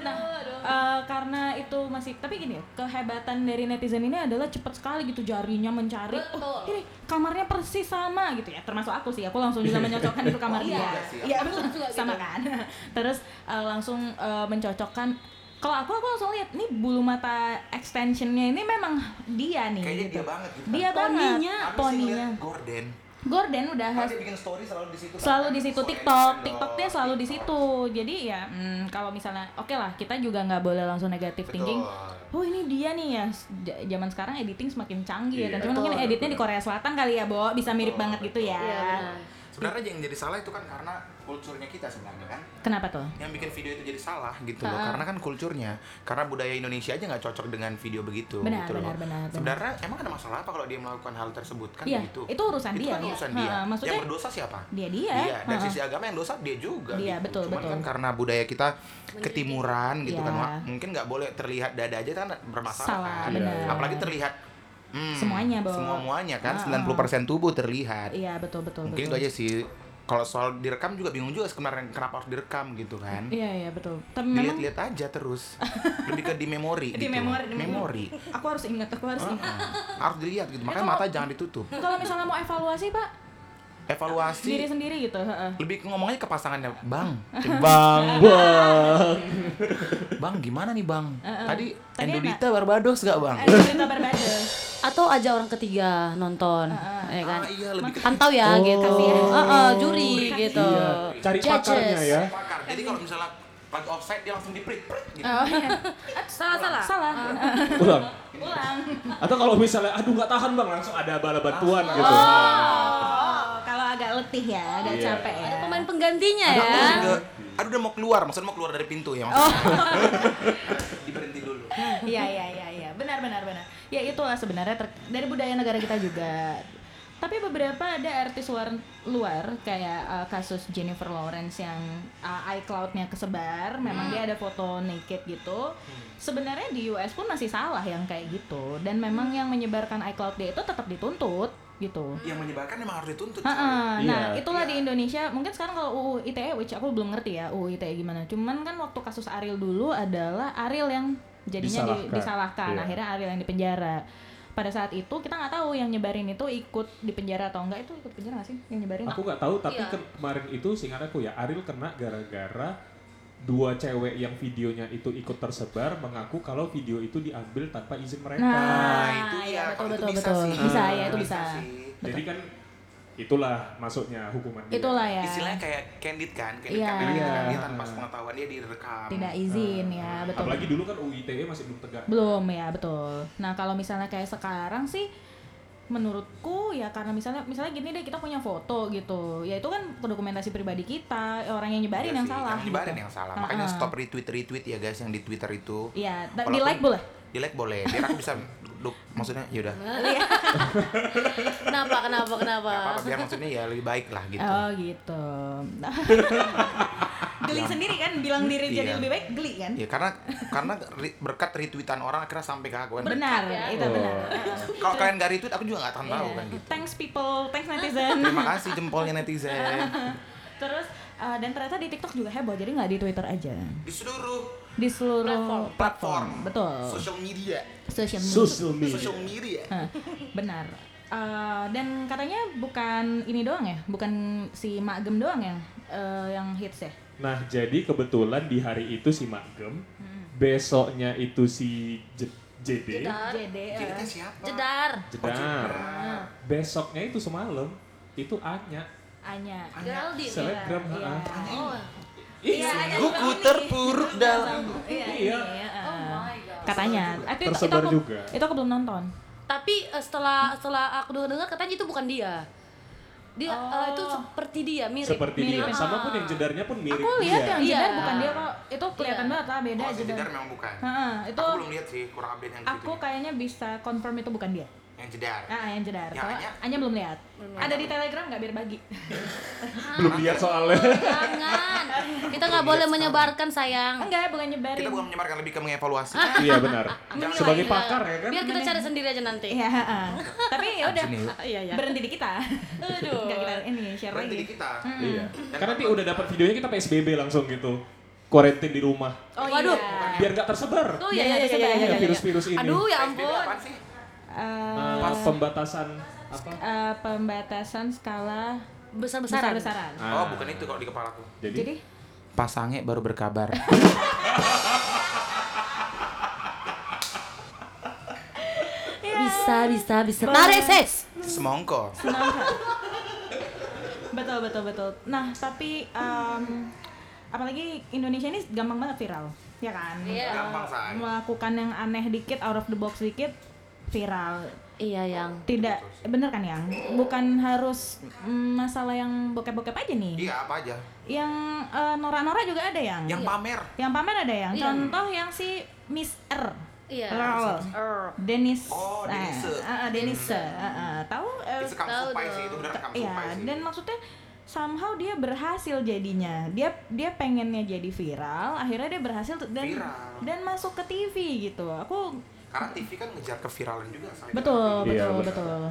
Speaker 2: Nah, eh, karena itu masih tapi gini ya, kehebatan dari netizen ini adalah cepat sekali gitu jarinya mencari. Oh, ini kamarnya persis sama gitu ya. Termasuk aku sih, aku langsung juga menyocokkan itu kamar dia. Iya, betul sama kan. Terus eh, langsung eh, mencocokkan kalau aku aku langsung lihat nih bulu mata extensionnya ini memang dia nih.
Speaker 6: Kayaknya
Speaker 2: gitu.
Speaker 6: dia banget gitu.
Speaker 2: Dia
Speaker 3: Poninya.
Speaker 2: banget.
Speaker 6: Aku sih
Speaker 2: Poninya.
Speaker 3: Eh,
Speaker 6: ngeliat gorden
Speaker 2: Gorden udah
Speaker 6: Kan dia bikin story selalu di situ kan?
Speaker 2: selalu di situ
Speaker 6: Story
Speaker 2: TikTok,
Speaker 6: Gisel.
Speaker 2: TikToknya selalu di situ. Jadi ya, hmm, kalau misalnya, oke lah, kita juga nggak boleh langsung negatif thinking. Oh ini dia nih ya, S- j- zaman sekarang editing semakin canggih ya. Dan cuman
Speaker 6: Iya,
Speaker 2: mungkin editnya di Korea Selatan kali ya, Bo, bisa mirip banget gitu ya.
Speaker 3: Iya,
Speaker 6: sebenarnya yang jadi salah itu kan karena kulturnya kita sebenarnya kan
Speaker 2: Kenapa tuh?
Speaker 6: yang bikin video itu jadi salah gitu loh karena kan kulturnya karena budaya Indonesia aja nggak cocok dengan video begitu
Speaker 2: Benar,
Speaker 6: gitu
Speaker 2: benar,
Speaker 6: loh
Speaker 2: benar, benar.
Speaker 6: sebenarnya emang ada masalah apa kalau dia melakukan hal tersebut kan
Speaker 2: Iya,
Speaker 6: gitu
Speaker 2: itu urusan dia.
Speaker 6: kan urusan
Speaker 2: Ha,
Speaker 6: dia
Speaker 2: maksudnya-
Speaker 6: yang berdosa siapa
Speaker 2: Dia dia.
Speaker 6: Iya, dari
Speaker 2: Heeh.
Speaker 6: sisi agama yang dosa dia juga.
Speaker 2: Dia,
Speaker 6: gitu.
Speaker 2: betul,
Speaker 6: Cuman
Speaker 2: betul.
Speaker 6: kan karena budaya kita ketimuran gitu kan,
Speaker 2: Iya.
Speaker 6: Wak. mungkin nggak boleh terlihat dada aja kan bermasalah.
Speaker 2: Salah,
Speaker 6: kan.
Speaker 4: benar.
Speaker 6: Apalagi terlihat hmm,
Speaker 2: Semuanya, Bo.
Speaker 6: Semua-muanya kan,
Speaker 2: Ah,
Speaker 6: 90% tubuh terlihat.
Speaker 2: Iya betul betul.
Speaker 6: mungkin itu
Speaker 2: betul.
Speaker 6: aja sih. Kalau soal direkam juga bingung juga sebenarnya kenapa harus direkam gitu kan.
Speaker 2: Iya iya betul. Tapi memang
Speaker 6: Dilihat-lihat aja terus. Lebih ke di memori
Speaker 2: Di
Speaker 6: gitu.
Speaker 2: memori, di
Speaker 6: memori.
Speaker 2: aku harus ingat, aku harus ingat.
Speaker 6: harus dilihat gitu. Makanya
Speaker 2: kalau-
Speaker 6: mata jangan ditutup.
Speaker 2: Kalau misalnya mau evaluasi pak, diri
Speaker 6: Evaluasi
Speaker 2: sendiri gitu. heeh.
Speaker 6: lebih ke ngomongnya ke pasangannya, Bang.
Speaker 1: Bang, bang.
Speaker 6: Bang gimana nih bang? Tadi
Speaker 2: Eh, Tadi
Speaker 6: Endolita Barbados gak bang?
Speaker 2: Eh, cerita berbadan.
Speaker 3: atau aja orang ketiga nonton ya kan
Speaker 6: Ah iya lebih ke
Speaker 3: pantau ya gitu Heeh, juri gitu
Speaker 4: Cari
Speaker 3: Judges.
Speaker 4: pakarnya ya.
Speaker 6: pakar. Jadi kalau misalnya lagi offside dia langsung di print gitu.
Speaker 2: Oh iya.
Speaker 3: salah salah
Speaker 2: Salah. Ah.
Speaker 4: Pulang.
Speaker 2: Pulang.
Speaker 4: Atau kalau misalnya, aduh nggak tahan bang, langsung ada bala bantuan gitu.
Speaker 2: Oh, kalau agak letih ya, agak
Speaker 4: Iya.
Speaker 2: capek ya.
Speaker 3: ada pemain penggantinya ya
Speaker 6: Ke- Aduh udah mau keluar, maksudnya mau keluar dari pintu
Speaker 2: Oh.
Speaker 6: ya maksudnya. Diberhenti dulu.
Speaker 2: Iya, iya, iya, iya. Benar, benar, benar. Ya itulah sebenarnya ter- dari budaya negara kita juga. Tapi beberapa ada artis luar luar kayak uh, kasus Jennifer Lawrence yang uh, iCloud-nya kesebar, memang dia ada foto naked gitu. Sebenarnya di US pun masih salah yang kayak gitu dan memang yang menyebarkan iCloud dia itu tetap dituntut gitu.
Speaker 6: Yang menyebarkan emang harus dituntut. coy.
Speaker 2: Ha-ha. Nah,
Speaker 1: Iya.
Speaker 2: itulah di Indonesia. Mungkin sekarang kalau UU ITE, E, which aku belum ngerti ya UU ITE gimana. Cuman kan waktu kasus Ariel dulu adalah Ariel yang jadinya di-
Speaker 1: Disalahkan.
Speaker 2: disalahkan.
Speaker 1: Iya.
Speaker 2: Akhirnya Ariel yang dipenjara. Pada saat itu kita nggak tahu yang nyebarin itu ikut dipenjara atau enggak itu ikut penjara nggak sih yang nyebarin?
Speaker 4: Aku nggak tahu tapi
Speaker 3: Iya.
Speaker 4: ke- kemarin itu seingat aku ya Ariel kena gara-gara dua cewek yang videonya itu ikut tersebar mengaku kalau video itu diambil tanpa izin mereka.
Speaker 6: Nah,
Speaker 2: Ah,
Speaker 6: itu
Speaker 2: iya,
Speaker 6: ya,
Speaker 2: betul,
Speaker 6: kalau itu
Speaker 2: betul,
Speaker 6: bisa
Speaker 2: betul.
Speaker 6: sih.
Speaker 2: Bisa, ya, itu bisa.
Speaker 6: sih.
Speaker 4: Jadi kan itulah masuknya hukuman dia.
Speaker 2: Itulah ya.
Speaker 6: Istilahnya kayak candid kan, candid
Speaker 2: Iya.
Speaker 6: kan,
Speaker 4: Iya.
Speaker 6: dia tanpa pengetahuan dia direkam. Iya
Speaker 2: Tidak izin ya, betul.
Speaker 4: Apalagi dulu kan UITE masih belum tegak.
Speaker 2: Belum ya, betul. Nah, kalau misalnya kayak sekarang sih menurutku ya karena misalnya misalnya gini deh kita punya foto gitu. Ya itu kan dokumentasi pribadi kita, orang yang nyebarin
Speaker 6: Iya
Speaker 2: yang
Speaker 6: sih,
Speaker 2: salah.
Speaker 6: Yang nyebarin
Speaker 2: gitu.
Speaker 6: yang salah.
Speaker 2: Ah,
Speaker 6: Makanya
Speaker 2: ah.
Speaker 6: stop retweet retweet ya guys yang di Twitter itu.
Speaker 2: Iya, ta-
Speaker 6: Walaupun-
Speaker 2: di-like boleh?
Speaker 6: Di like boleh. Biar aku bisa duduk maksudnya ya yaudah.
Speaker 2: Iya.
Speaker 3: kenapa kenapa kenapa
Speaker 6: Gak apa-apa biar maksudnya ya lebih baik lah gitu.
Speaker 2: Oh, gitu. geli sendiri kan bilang diri jadi
Speaker 6: Iya.
Speaker 2: lebih baik geli kan?
Speaker 6: Ya karena karena re- berkat retweetan orang akhirnya sampai ke aku kan.
Speaker 2: Benar,
Speaker 3: ya.
Speaker 2: itu
Speaker 4: Oh.
Speaker 2: benar.
Speaker 6: Kalau kalian gak retweet aku juga gak akan tahu
Speaker 2: Iya.
Speaker 6: kan gitu.
Speaker 2: Thanks people, thanks netizen.
Speaker 6: Terima kasih jempolnya netizen.
Speaker 2: Terus eh, dan ternyata di TikTok juga heboh, jadi nggak di Twitter aja.
Speaker 6: Di seluruh
Speaker 2: Di seluruh
Speaker 3: Platform.
Speaker 6: platform,
Speaker 2: Betul.
Speaker 6: social media,
Speaker 2: Social media.
Speaker 1: Social media.
Speaker 6: social media.
Speaker 2: Hah, benar. Eh, dan katanya bukan ini doang ya, bukan si Magem doang yang eh, yang hits ya.
Speaker 4: Nah, jadi kebetulan di hari itu si Magem,
Speaker 2: Hmm.
Speaker 4: besoknya itu si J- JD,
Speaker 3: Jedar.
Speaker 2: JD. eh.
Speaker 6: Jadi kan siapa?
Speaker 3: jedar
Speaker 6: Oh, Jedar.
Speaker 4: Jedar. Besoknya itu semalam, itu Anya,
Speaker 2: Anya.
Speaker 3: Geraldine
Speaker 4: selebgram.
Speaker 2: Iya.
Speaker 4: ha-ha.
Speaker 3: oh
Speaker 4: Ih,
Speaker 6: Buku terpuruk dalam.
Speaker 2: Iya.
Speaker 4: Iya.
Speaker 2: iya, eh.
Speaker 3: oh my god
Speaker 2: Katanya. Aku, itu-
Speaker 4: Tersebar
Speaker 2: itu aku,
Speaker 4: juga.
Speaker 2: Itu aku belum nonton.
Speaker 3: tapi eh, setelah setelah aku dengar katanya itu bukan dia dia
Speaker 2: Oh.
Speaker 3: eh, itu seperti dia mirip
Speaker 4: seperti
Speaker 2: mirip.
Speaker 4: dia. Sama pun yang jedarnya pun mirip
Speaker 2: Aku lihat
Speaker 4: dia.
Speaker 2: yang jedar
Speaker 3: Iya.
Speaker 2: bukan dia kok. Itu kelihatan
Speaker 3: Iya.
Speaker 2: banget lah beda
Speaker 6: Oh, si
Speaker 2: jedar.
Speaker 6: Jedar memang bukan.
Speaker 2: Heeh, itu
Speaker 6: Aku belum lihat sih, kurang update yang
Speaker 2: aku
Speaker 6: gitu.
Speaker 2: kayaknya bisa confirm itu bukan dia.
Speaker 6: Yang Jedar.
Speaker 2: Ah, yang jedar.
Speaker 6: Yang
Speaker 2: Kalau
Speaker 6: Ya, Anya?
Speaker 2: Anya belum lihat. Ada di Telegram nggak biar bagi?
Speaker 4: Belum lihat soalnya.
Speaker 3: jangan kita nggak boleh menyebarkan sayang
Speaker 2: Enggak, bukan nyebarin.
Speaker 6: Kita bukan menyebarkan lebih ke mengevaluasi.
Speaker 2: Ah,
Speaker 4: Iya benar.
Speaker 3: Menilai.
Speaker 4: Sebagai pakar ya kan.
Speaker 3: biar kita cari sendiri aja nanti
Speaker 2: Iya, heeh. tapi ya udah
Speaker 6: Absen ya.
Speaker 3: Iya, iya.
Speaker 2: berhenti di kita.
Speaker 3: Aduh.
Speaker 2: Nggak kita ini share
Speaker 6: Berarti di
Speaker 2: lagi.
Speaker 6: kita.
Speaker 4: Iya.
Speaker 2: Ya
Speaker 4: Karena nanti udah dapat videonya kita PSBB langsung gitu. Kuarantin di rumah.
Speaker 2: Oh
Speaker 3: Waduh.
Speaker 2: iya.
Speaker 4: Biar nggak tersebar.
Speaker 3: tuh ya ya ya, ya, ya,
Speaker 4: Iya,
Speaker 3: ya.
Speaker 4: virus-virus ini.
Speaker 3: aduh ya
Speaker 6: PSBB
Speaker 3: ampun
Speaker 6: apaan sih?
Speaker 2: Eh,
Speaker 4: Nah, pembatasan apa?
Speaker 2: eh, pembatasan skala
Speaker 3: besar besaran
Speaker 2: besar-besaran.
Speaker 6: Oh, bukan itu kalau di kepalaku.
Speaker 4: Jadi,
Speaker 2: Jadi
Speaker 6: Pasangnya baru berkabar.
Speaker 3: bisa bisa bisa tarik ses
Speaker 6: Semongko.
Speaker 2: betul betul betul. Nah tapi em, apalagi Indonesia ini gampang banget viral, ya kan?
Speaker 3: Iya.
Speaker 2: Eh,
Speaker 6: Gampang, Shay.
Speaker 2: Melakukan yang aneh dikit, out of the box dikit, viral.
Speaker 3: iya yang
Speaker 2: Tidak, bener kan yang? Bukan harus mm, masalah yang bokep-bokep aja nih.
Speaker 6: Iya, apa aja.
Speaker 2: Yang eh, norak-norak juga ada yang.
Speaker 6: Yang pamer.
Speaker 2: Yang pamer ada yang. Contoh yang si Miss R.
Speaker 3: Iya.
Speaker 2: Raul.
Speaker 3: Er.
Speaker 2: Denis.
Speaker 6: Oh, Denise. Hmm.
Speaker 2: Ah, ah, ah, Denise. Ah, ah. Tahu? eh,
Speaker 6: Itu kamu
Speaker 3: tahu
Speaker 6: supai
Speaker 3: dong.
Speaker 6: sih, itu benar kamu
Speaker 2: ya,
Speaker 6: supai sih.
Speaker 2: dan maksudnya somehow dia berhasil jadinya. Dia dia pengennya jadi viral, akhirnya dia berhasil tuh- dan
Speaker 6: Viral.
Speaker 2: dan masuk ke TV gitu. Aku
Speaker 6: Karena TV kan ngejar keviralan juga. Shay.
Speaker 2: betul,
Speaker 4: Iya,
Speaker 2: betul,
Speaker 4: benar.
Speaker 2: betul.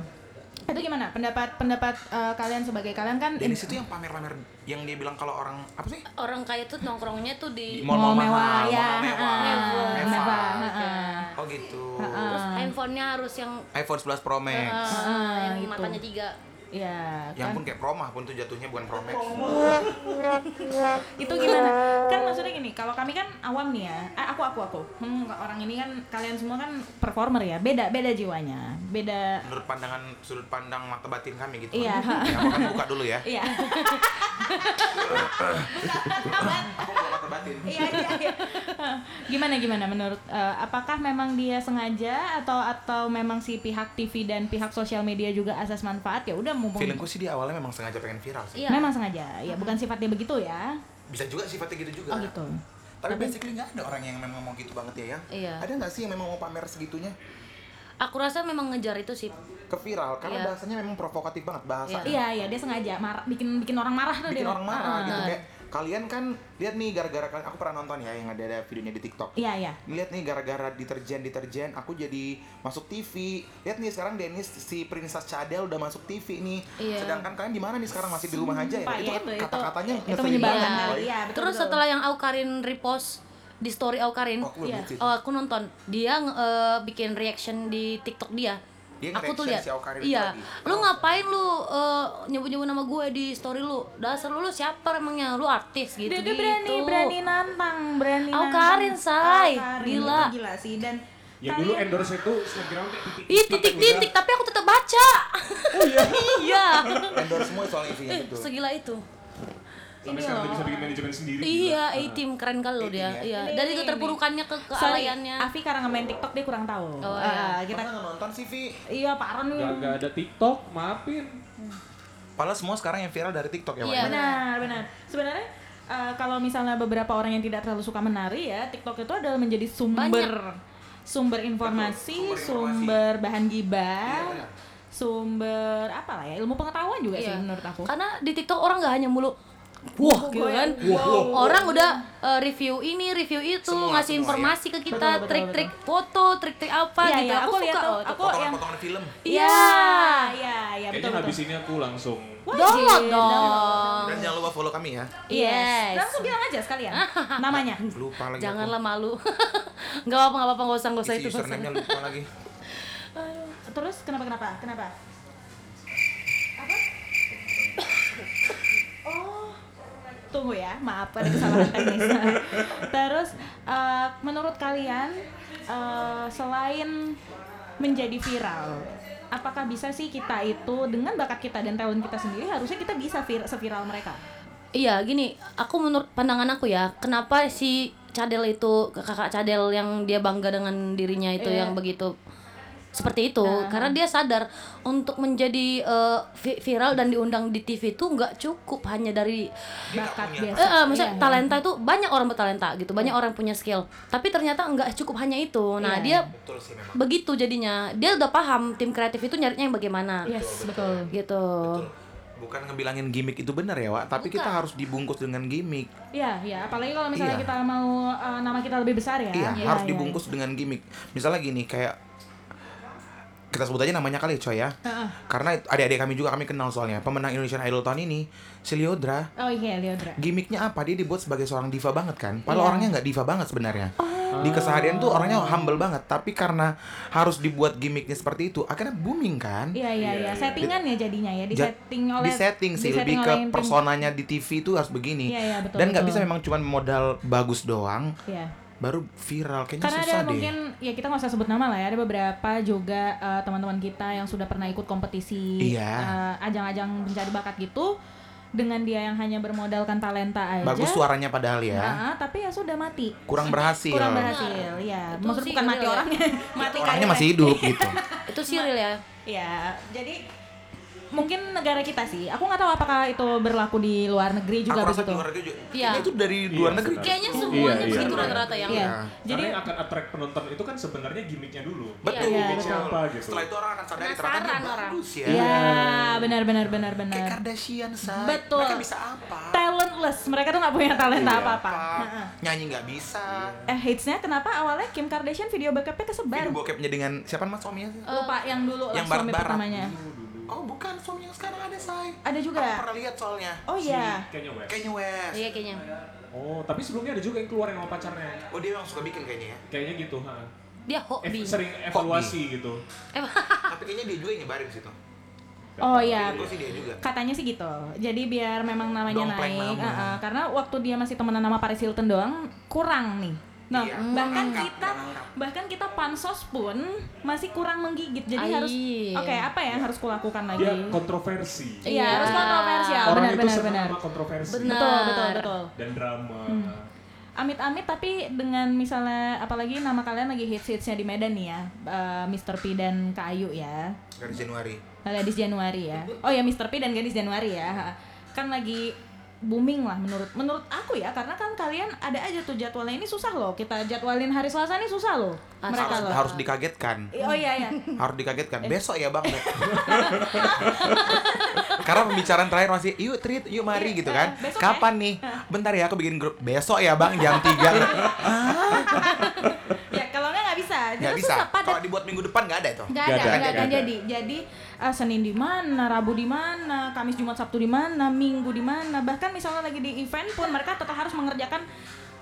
Speaker 2: Itu gimana pendapat pendapat eh, kalian sebagai kalian kan
Speaker 6: Dennis itu yang pamer-pamer yang dia bilang kalau orang apa sih?
Speaker 3: orang kaya tuh nongkrongnya tuh di
Speaker 6: Di mall-mall mahal,
Speaker 2: ya.
Speaker 6: mall-mall mewah.
Speaker 2: ah,
Speaker 6: Mewah.
Speaker 2: Mewah. ah, ah.
Speaker 6: Oh gitu.
Speaker 3: terus handphonenya harus yang
Speaker 6: iPhone 11 Pro Max.
Speaker 3: eh,
Speaker 2: ah,
Speaker 3: yang
Speaker 2: gitu.
Speaker 3: matanya tiga
Speaker 2: Iya,
Speaker 6: Ya
Speaker 2: kan.
Speaker 6: ampun kayak Pro mah pun tuh jatuhnya bukan Pro Max.
Speaker 2: itu gimana? Kan maksudnya gini, kalau kami kan awam nih ya. Eh, aku aku aku. Hmm, orang ini kan kalian semua kan performer ya. Beda beda jiwanya. Beda
Speaker 6: Menurut pandangan sudut pandang mata batin kami gitu.
Speaker 2: Iya.
Speaker 6: Ya, aku akan buka dulu ya.
Speaker 2: Iya.
Speaker 6: Aku buka mata batin.
Speaker 2: Iya, iya, iya. gimana gimana menurut eh, apakah memang dia sengaja atau atau memang si pihak TV dan pihak sosial media juga asas manfaat ya udah mumpung
Speaker 6: Filmku sih dia awalnya memang sengaja pengen viral sih.
Speaker 3: iya
Speaker 2: memang sengaja ya bukan sifatnya begitu ya
Speaker 6: Bisa juga sifatnya gitu juga.
Speaker 2: oh gitu
Speaker 6: Tapi basically nggak ada orang yang memang mau gitu banget ya, yang.
Speaker 3: Iya.
Speaker 6: Ada nggak sih yang memang mau pamer segitunya?
Speaker 3: Aku rasa memang ngejar itu sih.
Speaker 6: ke viral
Speaker 3: Iya.
Speaker 6: karena bahasanya memang provokatif banget bahasa
Speaker 2: Iya Ah, iya dia sengaja marah bikin bikin orang marah tuh dia.
Speaker 6: bikin orang marah
Speaker 2: Heeh.
Speaker 6: gitu kayak kalian kan lihat nih gara-gara kalian aku pernah nonton ya yang ada ada videonya di TikTok
Speaker 2: Iya iya.
Speaker 6: lihat nih gara-gara deterjen deterjen aku jadi masuk TV lihat nih sekarang Dennis si Princess Cadel udah masuk TV nih
Speaker 3: Iya.
Speaker 6: sedangkan kalian di mana nih sekarang masih di rumah aja ya
Speaker 2: Sumpah,
Speaker 6: itu
Speaker 2: iya,
Speaker 6: kan
Speaker 2: itu- itu-
Speaker 6: kata-katanya
Speaker 2: itu
Speaker 6: ngeselin
Speaker 2: menyebalkan
Speaker 6: banget,
Speaker 2: kali,
Speaker 6: coy.
Speaker 2: iya. betul,
Speaker 3: Terus
Speaker 2: betul.
Speaker 3: setelah yang Aukarin repost di story Aukarin,
Speaker 6: Oh, aku belum
Speaker 2: Iya.
Speaker 6: lihat sih.
Speaker 3: oh, aku nonton dia nge- eh, bikin reaction di TikTok dia.
Speaker 6: Dia
Speaker 3: aku tuh
Speaker 6: nge-reaction
Speaker 3: lihat.
Speaker 6: si Aukarin itu
Speaker 3: iya.
Speaker 6: lagi. Oh,
Speaker 3: Lu ngapain lu eh, nyebut-nyebut nama gue di story lu? Dasar lu lu siapa emangnya? Lu artis gitu.
Speaker 2: Dia, dia berani
Speaker 3: gitu.
Speaker 2: berani nantang berani.
Speaker 3: Au
Speaker 2: nantang.
Speaker 3: Karin, Shay.
Speaker 2: Au Karin,
Speaker 3: Gila.
Speaker 2: itu gila sih dan
Speaker 4: Yang Ya dulu
Speaker 2: kalian-
Speaker 4: endorse itu Instagram kayak titik. gitu ya.
Speaker 3: Ih titik-titik tapi aku tetap baca.
Speaker 6: Oh,
Speaker 3: iya.
Speaker 6: endorse semua soal isinya
Speaker 3: Eh,
Speaker 6: itu
Speaker 3: segila itu.
Speaker 4: Sampai sekarang udah bisa bikin manajemen sendiri.
Speaker 3: Iya, A team keren kali loh dia.
Speaker 6: ya.
Speaker 3: Iya, dari keterpurukannya ke
Speaker 2: Sorry,
Speaker 3: kealayannya.
Speaker 2: Afi karena ngemain TikTok dia kurang tahu.
Speaker 3: Oh,
Speaker 2: Ah,
Speaker 3: iya.
Speaker 2: kita
Speaker 6: Masa nggak nonton sih Vi
Speaker 2: iya Pak Ron.
Speaker 4: Gak, gak ada TikTok, maafin.
Speaker 6: padahal semua sekarang yang viral dari TikTok
Speaker 3: Iya.
Speaker 6: ya Wan?
Speaker 2: Benar, benar. Sebenarnya eh, kalau misalnya beberapa orang yang tidak terlalu suka menari ya, TikTok itu adalah menjadi sumber sumber informasi,
Speaker 6: Betul, sumber informasi.
Speaker 2: sumber bahan gibah,
Speaker 6: Iya, benar.
Speaker 2: sumber apa lah ya, ilmu pengetahuan juga sih
Speaker 3: Iya.
Speaker 2: menurut aku.
Speaker 3: Karena di TikTok orang nggak hanya mulu Wah, gitu kan? Orang udah eh, review ini, review itu,
Speaker 6: Semua,
Speaker 3: ngasih
Speaker 6: semua,
Speaker 3: informasi ke
Speaker 2: Betul, betul,
Speaker 3: kita, trik-trik foto, trik-trik apa
Speaker 2: Iya,
Speaker 3: gitu.
Speaker 2: iya,
Speaker 3: Aku,
Speaker 2: aku lihat
Speaker 3: suka.
Speaker 2: tuh,
Speaker 3: oh, itu.
Speaker 2: aku- yang-
Speaker 6: potongan-potongan film
Speaker 2: Iya, iya, iya betul.
Speaker 4: Kayaknya habis ini aku langsung
Speaker 2: Wajib.
Speaker 3: Download
Speaker 2: Iya, Download.
Speaker 3: dong.
Speaker 6: dan jangan lupa follow kami ya
Speaker 3: Yes.
Speaker 2: Langsung bilang aja sekalian namanya.
Speaker 6: lupa lagi aku.
Speaker 3: Janganlah malu. Gak apa-apa, gak apa-apa, gak usah, gak usah
Speaker 6: isi
Speaker 3: itu. gak usah.
Speaker 6: username-nya lupa lagi
Speaker 2: Terus kenapa kenapa? Kenapa? Apa? Oh. Tunggu ya, maaf ada kesalahan teknis. Terus eh, menurut kalian eh, selain menjadi viral, apakah bisa sih kita itu dengan bakat kita dan talent kita sendiri harusnya kita bisa vir seviral mereka?
Speaker 3: Iya gini, aku menurut pandangan aku ya, kenapa si Cadel itu kakak Cadel yang dia bangga dengan dirinya itu
Speaker 2: Iya.
Speaker 3: yang begitu seperti itu,
Speaker 2: Nah.
Speaker 3: karena dia sadar untuk menjadi eh, vi- viral dan diundang di TV itu nggak cukup hanya dari
Speaker 2: Bakat
Speaker 6: punya
Speaker 2: dia. Iya.
Speaker 3: Eh, eh, maksudnya talenta itu banyak orang bertalenta gitu, banyak orang punya skill, tapi ternyata nggak cukup hanya itu.
Speaker 2: Iya.
Speaker 3: Nah dia
Speaker 6: betul sih memang
Speaker 3: begitu jadinya, dia udah paham tim kreatif itu nyarinya yang bagaimana
Speaker 2: Yes, Iya, betul.
Speaker 3: gitu.
Speaker 6: bukan ngebilangin gimmick itu benar ya Wak tapi kita harus dibungkus dengan gimmick
Speaker 2: Iya, iya, apalagi kalau misalnya
Speaker 6: Iya.
Speaker 2: kita mau eh, nama kita lebih besar ya.
Speaker 6: iya harus dibungkus dengan gimmick misalnya gini kayak kita sebut aja namanya kali ya, coy ya karena itu- adik-adik kami juga kami kenal soalnya pemenang Indonesian Idol tahun ini si Liodra
Speaker 2: Oh iya, Leodra.
Speaker 6: gimmicknya apa dia dibuat sebagai seorang diva banget kan padahal
Speaker 2: Iya.
Speaker 6: orangnya nggak diva banget sebenarnya
Speaker 2: Oh.
Speaker 6: di keseharian tuh orangnya humble banget tapi karena harus dibuat gimmicknya seperti itu akhirnya booming kan
Speaker 2: Iya iya iya, settingan ya jadinya ya, disetting oleh
Speaker 6: di setting sih
Speaker 2: disetting
Speaker 6: lebih
Speaker 2: oleh
Speaker 6: ke
Speaker 2: yang tim.
Speaker 6: personanya di TV itu harus begini
Speaker 2: Iya, iya, betul,
Speaker 6: dan nggak
Speaker 2: betul.
Speaker 6: bisa memang cuman modal bagus doang
Speaker 2: Iya.
Speaker 6: baru viral kayaknya
Speaker 2: Karena ada
Speaker 6: susah deh
Speaker 2: mungkin ya kita nggak usah sebut nama lah ya, ada beberapa juga eh, teman-teman kita yang sudah pernah ikut kompetisi
Speaker 6: Iya.
Speaker 2: eh, ajang-ajang mencari bakat gitu dengan dia yang hanya bermodalkan talenta aja.
Speaker 6: bagus suaranya padahal ya
Speaker 2: nah, tapi ya sudah mati.
Speaker 6: kurang berhasil
Speaker 2: Kurang berhasil, ya.
Speaker 3: Itu
Speaker 2: Maksudnya
Speaker 3: sih
Speaker 2: bukan mati
Speaker 3: real ya.
Speaker 2: orangnya, mati
Speaker 6: orangnya
Speaker 2: karirnya.
Speaker 6: masih hidup gitu
Speaker 3: Itu sih real ya.
Speaker 2: Ya, jadi mungkin negara kita sih. Aku nggak tahu apakah itu berlaku di luar negeri juga begitu.
Speaker 6: itu juga
Speaker 3: Iya.
Speaker 6: kayaknya itu dari luar negeri
Speaker 4: benar.
Speaker 3: Kayaknya semuanya
Speaker 4: Iya, iya,
Speaker 3: begitu
Speaker 4: iya.
Speaker 3: rata-rata yang
Speaker 2: Iya.
Speaker 4: Jadi
Speaker 2: Jadi
Speaker 4: yang akan attract penonton itu kan sebenarnya gimmicknya dulu.
Speaker 6: betul
Speaker 3: Iya,
Speaker 6: betul.
Speaker 4: Gimmicknya apa gitu.
Speaker 6: setelah itu orang akan sadar
Speaker 3: Penasaran
Speaker 6: ternyata dia
Speaker 3: orang.
Speaker 6: bagus ya
Speaker 2: Iya, benar benar benar benar.
Speaker 6: kayak Kardashian say
Speaker 2: Betul.
Speaker 6: mereka bisa apa
Speaker 2: Talentless, mereka tuh nggak punya
Speaker 6: Iya,
Speaker 2: talenta apa-apa. Nah,
Speaker 6: Apa? nyanyi nggak bisa
Speaker 2: Eh, hitsnya kenapa awalnya Kim Kardashian video backupnya kesebar? Eh,
Speaker 6: Video bokepnya dengan siapa mas suaminya
Speaker 2: Lupa yang dulu lah
Speaker 6: yang
Speaker 2: suami
Speaker 6: barat-barat.
Speaker 2: pertamanya.
Speaker 6: oh bukan suami yang sekarang ada say
Speaker 2: Ada juga.
Speaker 6: Aku pernah lihat soalnya
Speaker 2: Oh iya.
Speaker 4: Kayaknya Wes.
Speaker 6: Kanye West
Speaker 3: Iya kayaknya.
Speaker 4: Oh, tapi sebelumnya ada juga yang keluar yang sama pacarnya.
Speaker 6: Oh dia memang suka bikin kayaknya ya.
Speaker 4: Kayaknya gitu, ha.
Speaker 3: Dia
Speaker 4: Ev-
Speaker 6: Eh,
Speaker 3: hobi. Eh,
Speaker 4: sering evaluasi gitu.
Speaker 6: Tapi kayaknya dia juga yang nyebarin situ.
Speaker 2: Oh Ah. iya.
Speaker 6: Aku sih dia juga.
Speaker 2: Katanya sih gitu. Jadi biar memang namanya
Speaker 6: Dompleng
Speaker 2: naik.
Speaker 6: nama.
Speaker 2: uh-uh. karena waktu dia masih temenan sama Paris Hilton doang kurang nih. Nah,
Speaker 6: Iya,
Speaker 2: bahkan
Speaker 6: kurang lengkap,
Speaker 2: kita
Speaker 6: kurang lengkap.
Speaker 2: bahkan kita pansos pun masih kurang menggigit. Jadi
Speaker 3: Ai.
Speaker 2: harus oke, apa
Speaker 6: Iya.
Speaker 2: yang harus kulakukan lagi?
Speaker 4: Dia kontroversi.
Speaker 2: Iya, harus
Speaker 3: Iya.
Speaker 2: kontroversial.
Speaker 4: orang
Speaker 2: Benar
Speaker 4: itu
Speaker 2: benar
Speaker 4: senang
Speaker 2: benar. Hmm.
Speaker 4: sama kontroversi
Speaker 3: Benar.
Speaker 2: Betul, betul, betul.
Speaker 4: dan drama.
Speaker 2: Amit-amit tapi dengan misalnya apalagi nama kalian lagi hits-hitsnya di Medan nih ya, eh, Mr. P dan Kak Ayu ya,
Speaker 6: Dari Januari.
Speaker 2: Gadis Januari ya. Oh ya Mr. P dan Gadis Januari ya, kan lagi booming lah menurut menurut aku ya karena kan kalian ada aja tuh jadwalnya ini susah loh kita jadwalin hari Selasa ini susah loh
Speaker 3: Asli.
Speaker 2: mereka
Speaker 6: harus,
Speaker 2: loh
Speaker 6: harus dikagetkan
Speaker 2: oh iya iya
Speaker 6: harus dikagetkan besok ya bang karena pembicaraan terakhir masih yuk treat yuk mari gitu kan
Speaker 2: Iya, besok ya.
Speaker 6: kapan nih bentar ya aku bikin grup besok ya bang jam
Speaker 2: Iya. ya
Speaker 6: 3
Speaker 2: kalau nggak nggak bisa
Speaker 6: nggak
Speaker 2: Jadi
Speaker 6: bisa
Speaker 2: susah padat
Speaker 6: kalau dibuat minggu depan nggak ada itu
Speaker 2: Gak ada,
Speaker 4: Nggak ada,
Speaker 2: nggak
Speaker 4: nggak
Speaker 2: akan
Speaker 4: ada.
Speaker 2: jadi. Jadi eh, Senin di mana, Rabu di mana, Kamis, Jumat, Sabtu di mana, Minggu di mana. Bahkan misalnya lagi di event pun mereka tetap harus mengerjakan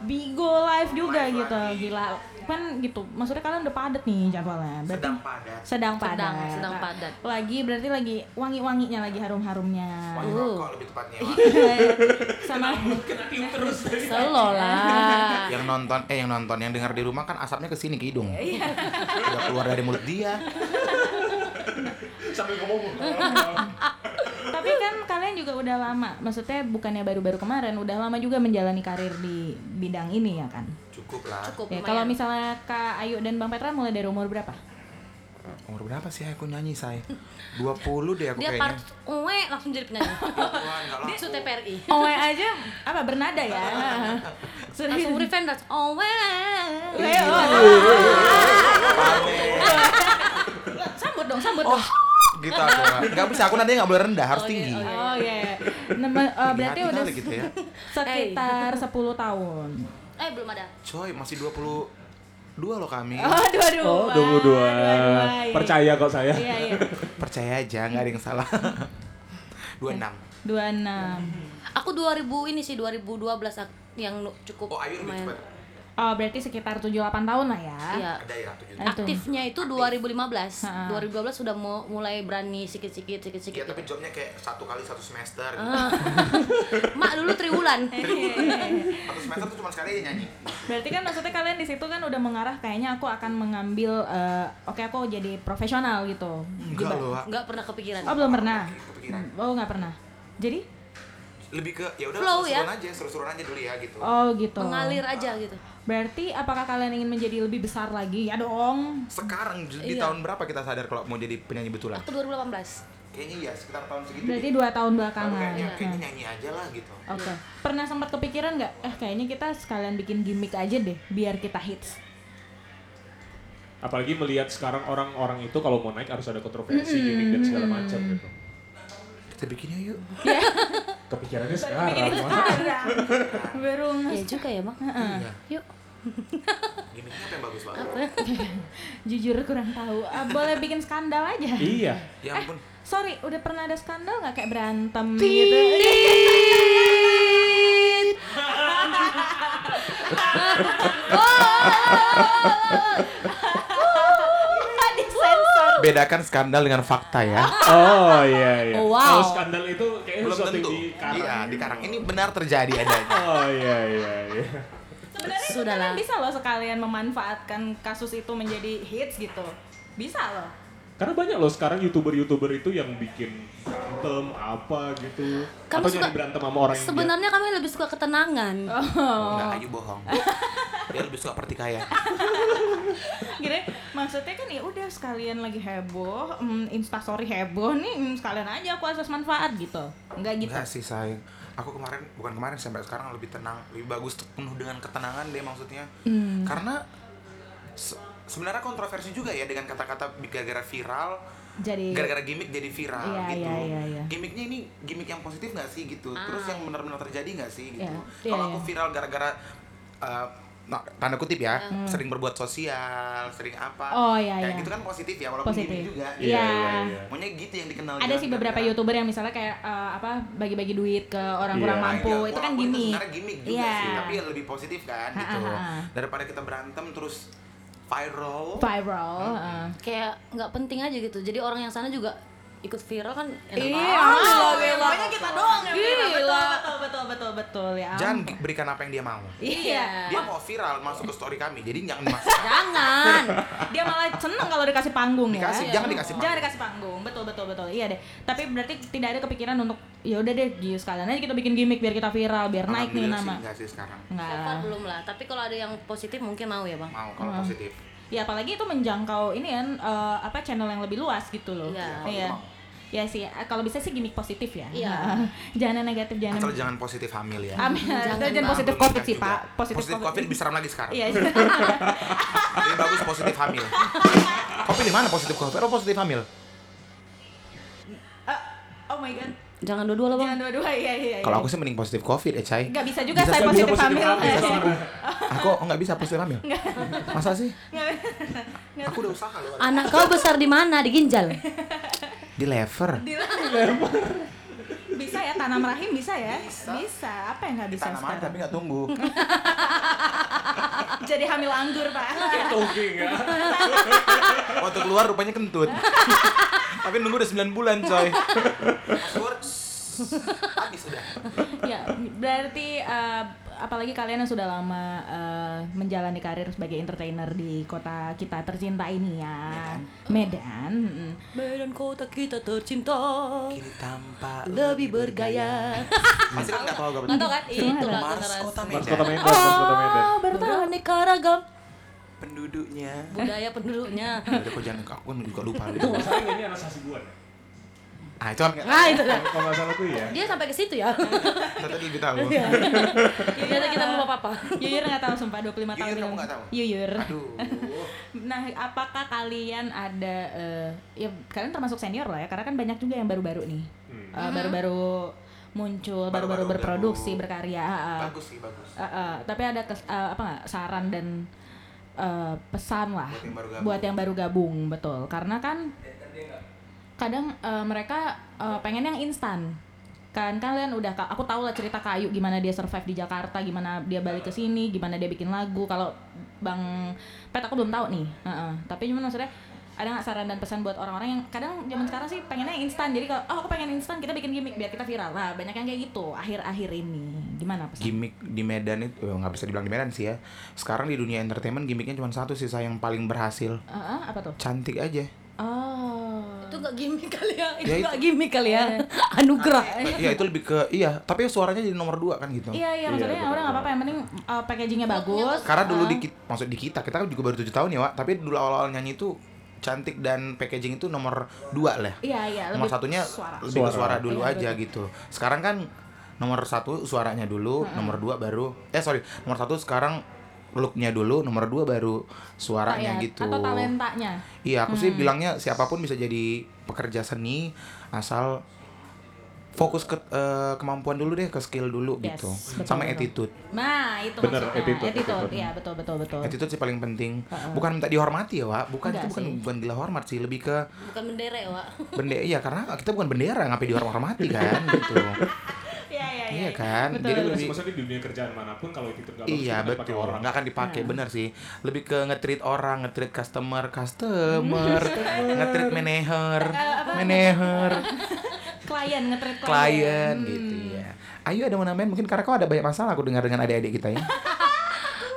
Speaker 2: Bigo live juga gitu. Gila. Kan gitu. Maksudnya kalian udah padat nih jadwalnya. Berarti
Speaker 6: sedang padat
Speaker 2: sedang padat.
Speaker 3: Sedang, sedang padat.
Speaker 2: Lagi berarti lagi wangi-wanginya lagi harum-harumnya.
Speaker 6: Wangi
Speaker 3: Uh.
Speaker 6: rokok lebih tepatnya
Speaker 2: Iya.
Speaker 6: Bang.
Speaker 2: Sama
Speaker 3: Selo lah.
Speaker 6: yang nonton eh yang nonton yang dengar di rumah kan asapnya ke sini ke hidung udah keluar dari mulut dia
Speaker 4: Sambil ngomong.
Speaker 2: tapi kan kalian juga udah lama. Maksudnya bukannya baru-baru kemarin, udah lama juga menjalani karir di bidang ini ya kan?
Speaker 6: cukup lah
Speaker 3: Cukup
Speaker 2: Ya,
Speaker 3: lumayan.
Speaker 2: kalau misalnya Kak Ayu dan Bang Petra mulai dari umur berapa?
Speaker 6: umur berapa sih aku nyanyi say 20 deh aku
Speaker 3: dia part
Speaker 6: kayaknya
Speaker 3: uwe langsung jadi penyanyi.
Speaker 6: Wah, nggak laku.
Speaker 3: Su TPRI.
Speaker 2: Owe aja apa bernada ya?
Speaker 3: Langsung revenge dance. Owe.
Speaker 2: Ya, Oh, iya, Sambut dong, sambut
Speaker 6: oh
Speaker 2: dong.
Speaker 6: gitu aku Mbak. nggak bisa aku nanti nggak boleh rendah harus tinggi
Speaker 2: Oh iya. iya. Nama- eh, berarti
Speaker 6: Hati
Speaker 2: udah
Speaker 6: kali gitu ya.
Speaker 2: sekitar 10 tahun.
Speaker 3: Eh belum ada.
Speaker 6: coy masih 22 loh kami
Speaker 2: Oh, dua-dua.
Speaker 4: Oh, 22. Percaya kok saya.
Speaker 2: Iya, iya.
Speaker 6: percaya aja nggak ada yang salah 26
Speaker 2: 26.
Speaker 3: Aku 2000 ini sih 2012 ak- yang lu- cukup
Speaker 6: oh ayo lebih
Speaker 3: lumayan.
Speaker 6: cepat
Speaker 2: Oh, berarti sekitar 7-8 tahun lah ya.
Speaker 3: Iya.
Speaker 6: ada ya tujuh
Speaker 2: Nah, Itu.
Speaker 3: Aktifnya itu 2015.
Speaker 2: Ha-ha.
Speaker 3: 2012 sudah mu- mulai berani sikit-sikit
Speaker 6: ya
Speaker 3: sikit-sikit.
Speaker 6: tapi jobnya kayak satu kali satu semester gitu.
Speaker 3: gitu. Ah. Mak dulu triwulan.
Speaker 6: satu semester tuh cuma sekali aja nyanyi
Speaker 2: Berarti kan maksudnya kalian di situ kan udah mengarah kayaknya aku akan mengambil eh, oke aku jadi profesional gitu.
Speaker 6: enggak
Speaker 2: Gimana?
Speaker 6: loh Wak.
Speaker 3: Enggak pernah kepikiran.
Speaker 2: Oh belum pernah.
Speaker 6: Kepikiran.
Speaker 2: Oh nggak pernah. Jadi?
Speaker 6: lebih ke ya udah
Speaker 3: Flow ya.
Speaker 6: seru-seruan aja seru-seruan aja dulu ya gitu
Speaker 2: Oh gitu.
Speaker 3: Mengalir aja gitu.
Speaker 2: Berarti apakah kalian ingin menjadi lebih besar lagi? Ya dong.
Speaker 6: sekarang
Speaker 3: Iya.
Speaker 6: di tahun berapa kita sadar kalau mau jadi penyanyi betulan
Speaker 3: Aku 2018.
Speaker 6: kayaknya ya sekitar tahun segitu
Speaker 2: Berarti dua tahun
Speaker 6: Baru
Speaker 2: belakangan.
Speaker 6: kayaknya
Speaker 2: Nah,
Speaker 6: kayaknya
Speaker 3: Iya.
Speaker 6: nyanyi aja lah gitu
Speaker 2: Oke. Pernah sempat kepikiran nggak? Eh kayaknya kita sekalian bikin gimmick aja deh, biar kita hits.
Speaker 4: Apalagi melihat sekarang orang-orang itu kalau mau naik harus ada kontroversi gimmick dan segala macam gitu.
Speaker 6: kita bikin yuk
Speaker 4: Kepikirannya sekarang. Wak.
Speaker 2: Berung.
Speaker 3: Iya juga ya, Mak.
Speaker 6: Iya.
Speaker 3: Yuk.
Speaker 6: gimmicknya apa yang bagus banget
Speaker 2: Jujur kurang tahu. Ah, boleh bikin skandal aja.
Speaker 4: Iya.
Speaker 6: ya ampun
Speaker 2: Sorry, udah pernah ada skandal nggak kayak berantem gitu?
Speaker 6: bedakan skandal dengan fakta ya
Speaker 4: Oh iya iya.
Speaker 3: Oh, wow.
Speaker 4: Kalau skandal itu kayaknya
Speaker 6: belum
Speaker 4: sesuatu
Speaker 6: tentu
Speaker 4: yang dikarang.
Speaker 6: iya
Speaker 4: gitu.
Speaker 6: di karang ini benar terjadi adanya
Speaker 4: Oh iya iya iya.
Speaker 2: Sebenarnya
Speaker 3: Sudahlah.
Speaker 2: kalian kan bisa loh sekalian memanfaatkan kasus itu menjadi hits gitu. Bisa loh.
Speaker 4: Karena banyak loh sekarang youtuber-youtuber itu yang bikin berantem apa gitu.
Speaker 3: Kamu
Speaker 4: Atau
Speaker 3: suka-
Speaker 4: nyari berantem sama orang yang dia-
Speaker 3: Sebenarnya kami lebih suka ketenangan. Oh.
Speaker 6: Enggak, Ayu bohong dia lebih suka pertikaian
Speaker 2: Gini, maksudnya kan ya udah sekalian lagi heboh, mm, instastory heboh nih, mm, sekalian aja aku asas manfaat gitu. Enggak gitu.
Speaker 6: enggak sih sayang aku kemarin bukan kemarin sampai sekarang lebih tenang lebih bagus penuh dengan ketenangan deh maksudnya
Speaker 2: Hmm.
Speaker 6: karena se- sebenarnya kontroversi juga ya dengan kata-kata gara-gara viral
Speaker 2: Jadi
Speaker 6: gara-gara gimmick jadi viral
Speaker 2: Iya,
Speaker 6: gitu.
Speaker 2: iya, iya, iya.
Speaker 6: Gimmicknya ini gimmick yang positif nggak sih gitu. Terus yang benar-benar terjadi nggak sih gitu.
Speaker 2: Iya, iya,
Speaker 6: Kalau aku
Speaker 2: iya.
Speaker 6: viral ya, gara-gara eh, nah, tanda kutip ya, sering berbuat sosial, sering apa.
Speaker 2: Oh, iya,
Speaker 6: Kayak
Speaker 2: iya.
Speaker 6: gitu kan positif ya walaupun
Speaker 2: positif.
Speaker 6: gimmick juga.
Speaker 4: Iya. iya.
Speaker 6: Maunya gitu yang dikenal.
Speaker 2: Ada
Speaker 6: jangan ya.
Speaker 2: sih beberapa
Speaker 6: gara-gara-
Speaker 2: youtuber yang misalnya kayak eh, apa bagi-bagi duit ke orang
Speaker 4: Iya.
Speaker 2: kurang
Speaker 6: Nah,
Speaker 2: mampu,
Speaker 6: iya,
Speaker 2: itu kan
Speaker 6: walaupun
Speaker 2: gimmick.
Speaker 6: sebenarnya gimmick juga
Speaker 2: Iya.
Speaker 6: sih, tapi yang lebih positif kan
Speaker 2: Ha,
Speaker 6: gitu.
Speaker 2: ha, ha.
Speaker 6: Daripada kita berantem terus viral.
Speaker 2: Viral.
Speaker 6: Hmm.
Speaker 2: eh.
Speaker 3: Kayak nggak penting aja gitu. Jadi orang yang sana juga ikut viral kan
Speaker 2: Iya,
Speaker 3: enak banget.
Speaker 2: gila, gila. Pokoknya kita doang yang viral. Betul, betul, betul, betul, betul, ya.
Speaker 6: Jangan berikan apa yang dia mau.
Speaker 2: Iya.
Speaker 6: Dia mau viral masuk ke story kami, jadi jangan masuk.
Speaker 3: Jangan.
Speaker 2: Dia malah seneng kalau dikasih panggung ya.
Speaker 6: Dikasih, jangan dikasih
Speaker 2: Jangan
Speaker 6: panggung.
Speaker 2: dikasih panggung. Betul, betul, betul. Iya deh. Tapi berarti tidak ada kepikiran untuk ya udah deh, Gius sekalian aja kita bikin gimmick biar kita viral, biar naik nih
Speaker 6: Alhamdulillah sih
Speaker 2: nama.
Speaker 6: Enggak sih sekarang.
Speaker 2: Enggak.
Speaker 3: So far
Speaker 2: lah.
Speaker 3: belum lah. Tapi kalau ada yang positif mungkin mau ya, Bang.
Speaker 6: Mau kalau positif.
Speaker 2: Ya apalagi itu menjangkau ini kan eh, apa channel yang lebih luas gitu loh.
Speaker 3: Iya.
Speaker 2: Iya. ya sih eh, kalau bisa sih gimmick positif ya
Speaker 3: Iya.
Speaker 2: Nah, jangan yang negatif jangan
Speaker 6: Asal
Speaker 2: yang-
Speaker 6: jangan positif hamil ya.
Speaker 2: Amin.
Speaker 3: Jangan,
Speaker 2: Jangan,
Speaker 3: Bang.
Speaker 2: positif
Speaker 6: Belum
Speaker 2: covid
Speaker 6: nikah
Speaker 2: sih
Speaker 6: juga.
Speaker 2: pak positif,
Speaker 6: Positif covid diseram lagi sekarang.
Speaker 2: iya
Speaker 6: Tapi bagus positif hamil. Covid di mana positif covid? Oh positif hamil.
Speaker 2: Eh, oh my god
Speaker 3: Jangan dua-dua lah bang.
Speaker 2: jangan dua-dua iya iya
Speaker 6: Kalau aku sih mending positif covid ya cai.
Speaker 2: Gak bisa juga
Speaker 6: Bisa
Speaker 2: saya
Speaker 6: sih,
Speaker 2: positif,
Speaker 4: bisa positif
Speaker 2: hamil.
Speaker 4: hamil.
Speaker 2: Iya.
Speaker 6: Aku oh, nggak bisa positif hamil. Masa sih? Aku udah usaha loh.
Speaker 3: Anak kau besar di mana? Di ginjal.
Speaker 6: Di lever.
Speaker 2: Bisa ya tanam rahim bisa ya? Bisa. Apa yang nggak bisa
Speaker 6: Tanaman
Speaker 2: sekarang?
Speaker 6: tapi nggak tumbuh.
Speaker 2: Jadi hamil anggur pak.
Speaker 4: Talking ya.
Speaker 6: Waktu keluar rupanya kentut. tapi nunggu udah 9 bulan coy. Password habis sudah.
Speaker 2: ya berarti eh, apalagi kalian yang sudah lama eh, menjalani karir sebagai entertainer di kota kita tercinta ini ya Medan. mm.
Speaker 3: Medan kota kita tercinta
Speaker 6: Kini tampak
Speaker 3: lebih bergaya.
Speaker 6: Masih kan nggak tahu gak
Speaker 3: Nggak tahu kan? Itu lah
Speaker 6: Mars
Speaker 3: generasi.
Speaker 6: kota
Speaker 4: Mas Kota
Speaker 6: Medan.
Speaker 4: Medan, Mas Kota Medan.
Speaker 2: Oh baru tahu.
Speaker 3: Beraneka ragam
Speaker 6: Penduduknya.
Speaker 3: budaya penduduknya.
Speaker 6: Udah kok jangan aku kan juga lupa.
Speaker 4: Itu nggak salah ini anak Hasibuan ya?
Speaker 6: Ah itu kan
Speaker 3: Nah itu lah.
Speaker 4: Kalau nggak salah tuh ya.
Speaker 3: Dia sampai ke situ ya.
Speaker 6: tadi lebih tahu.
Speaker 3: Ternyata Iya, kita belum apa-apa.
Speaker 2: Yuyur nggak tahu sumpah 25 tahun.
Speaker 6: Yuyur kamu
Speaker 2: yang-
Speaker 6: nggak tahu?
Speaker 2: Yuyur.
Speaker 6: Aduh.
Speaker 2: Nah, apakah kalian ada eh, ya kalian termasuk senior lah ya karena kan banyak juga yang baru-baru nih.
Speaker 4: Hmm.
Speaker 2: Eh, baru-baru muncul, baru-baru
Speaker 6: Baru-baru
Speaker 2: berproduksi,
Speaker 6: baru.
Speaker 2: berkarya. eh, eh.
Speaker 6: Bagus sih, bagus.
Speaker 2: Eh, eh, tapi ada kes- eh, apa nggak saran dan eh, pesan lah
Speaker 6: Buat yang baru gabung.
Speaker 2: buat yang baru gabung, betul. Karena kan kadang eh, mereka eh, pengen yang instan. Kan kalian udah ka- aku tahu lah cerita Kayu gimana dia survive di Jakarta, gimana dia balik ke sini, gimana dia bikin lagu. Kalau Bang Pet aku belum tahu nih. Heeh. Tapi cuman maksudnya ada nggak saran dan pesan buat orang-orang yang kadang zaman sekarang sih pengennya instan. Jadi kalau oh aku pengen instan, kita bikin gimmick biar kita viral lah. Banyak yang kayak gitu akhir-akhir ini. Gimana pesan?
Speaker 6: gimmick di Medan itu eh, nggak bisa dibilang di Medan sih ya. Sekarang di dunia entertainment gimmicknya cuma satu sih saya yang paling berhasil.
Speaker 2: Ah, ah, apa tuh?
Speaker 6: Cantik aja.
Speaker 2: Oh.
Speaker 3: Itu gak gimmick kali ya. Itu
Speaker 6: Ya,
Speaker 3: gak gimmick kali ya. Anugerah.
Speaker 6: Iya itu lebih ke iya, tapi suaranya jadi nomor dua kan gitu.
Speaker 2: Eh. Iya iya maksudnya orang nggak apa-apa yang penting uh, packagingnya
Speaker 3: ya,
Speaker 2: bagus.
Speaker 6: Karena dulu di kit- maksud di kita, kita kan juga baru tujuh tahun ya, Wak. Tapi dulu awal-awal nyanyi itu cantik dan packaging itu nomor dua lah.
Speaker 2: Iya iya
Speaker 6: nomor satunya
Speaker 2: suara.
Speaker 6: lebih ke suara
Speaker 4: Suara.
Speaker 6: dulu
Speaker 2: Iya,
Speaker 6: aja gitu. Sekarang kan nomor satu suaranya dulu, nomor dua baru eh sorry nomor satu sekarang looknya dulu, nomor dua baru suaranya
Speaker 2: Talent
Speaker 6: gitu.
Speaker 2: Iya, Atau talentanya.
Speaker 6: Iya, aku
Speaker 2: Hmm.
Speaker 6: sih bilangnya siapapun bisa jadi pekerja seni asal fokus ke eh, kemampuan dulu deh, ke skill dulu
Speaker 2: Yes,
Speaker 6: gitu.
Speaker 2: betul,
Speaker 6: Sama
Speaker 2: betul.
Speaker 6: attitude.
Speaker 2: Nah, itu
Speaker 4: Bener,
Speaker 2: maksudnya.
Speaker 4: attitude, attitude.
Speaker 2: Iya, betul betul betul.
Speaker 6: Attitude sih paling penting.
Speaker 2: Heeh.
Speaker 6: Bukan minta dihormati ya, Wak. Bukan
Speaker 2: Enggak
Speaker 6: itu bukan
Speaker 2: sih.
Speaker 6: bukan gila hormat sih, lebih ke
Speaker 3: Bukan bendera ya, Wak.
Speaker 6: bendera iya karena kita bukan bendera ngapain dihormati kan gitu.
Speaker 2: Iya iya
Speaker 6: iya kan?
Speaker 2: Betul.
Speaker 6: Jadi lebih
Speaker 4: Maksudnya di dunia kerjaan manapun kalau itu nggak bagus
Speaker 6: Iya
Speaker 4: kita pakai
Speaker 6: betul,
Speaker 4: orang.
Speaker 6: nggak akan dipakai
Speaker 2: Hmm.
Speaker 6: bener sih. Lebih ke nge-treat orang, nge-treat customer, customer,
Speaker 2: Hmm.
Speaker 6: nge-treat manager,
Speaker 2: Eh,
Speaker 6: manager,
Speaker 2: Klien ngetrit
Speaker 6: klien
Speaker 2: Hmm.
Speaker 6: gitu ya. Ayo ada mau nambahin mungkin karena kau ada banyak masalah aku dengar dengan adik-adik kita ya.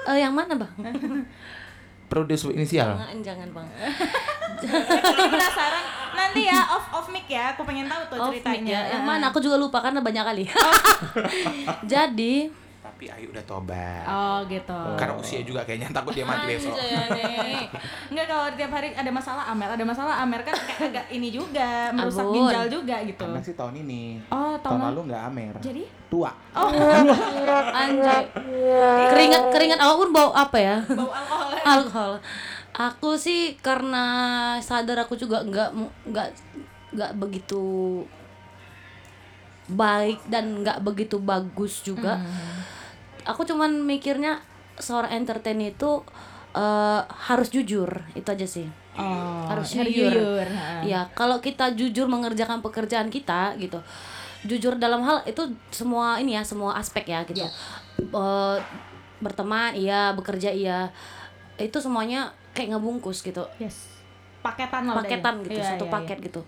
Speaker 3: Eh, yang mana bang?
Speaker 6: Perlu disebut
Speaker 2: Nah.
Speaker 6: inisial.
Speaker 3: Jangan, jangan bang.
Speaker 2: Aku penasaran. Nanti ya off off mic ya, aku pengen tahu tuh
Speaker 3: Off mic
Speaker 2: ceritanya.
Speaker 3: ya. Yang mana? Aku juga lupa karena banyak kali. Jadi,
Speaker 6: Tapi Ayu udah tobat.
Speaker 2: Oh, Ah, iya, gitu.
Speaker 6: Karena usia juga kayaknya takut dia mati besok.
Speaker 3: Iya
Speaker 2: Nih, Enggak kalau tiap hari ada masalah Amer, ada masalah Amer kan kayak agak ini juga merusak
Speaker 3: Abun.
Speaker 2: ginjal juga gitu.
Speaker 6: Amer sih tahun ini.
Speaker 2: Oh, tahun lalu.
Speaker 6: nggak Amer.
Speaker 2: Jadi?
Speaker 6: tua.
Speaker 2: Oh,
Speaker 3: anjay. Keringat keringat awak pun bau apa ya?
Speaker 2: bau alkohol.
Speaker 3: Alkohol. Aku sih karena sadar aku juga nggak mu- nggak nggak begitu baik dan nggak begitu bagus juga.
Speaker 2: Hmm.
Speaker 3: Aku cuman mikirnya seorang entertain itu eh, harus jujur itu aja sih.
Speaker 2: Oh,
Speaker 3: harus
Speaker 2: nyari
Speaker 3: jujur.
Speaker 2: yuyur, ha.
Speaker 3: Ya, kalau kita jujur mengerjakan pekerjaan kita gitu. Jujur dalam hal itu semua ini ya, semua aspek ya gitu. Eh, berteman iya, bekerja iya. Itu semuanya kayak ngebungkus gitu.
Speaker 2: Yes. Paketan lah udah
Speaker 3: Paketan
Speaker 2: ya.
Speaker 3: gitu,
Speaker 2: Iya,
Speaker 3: satu
Speaker 2: iya,
Speaker 3: paket gitu.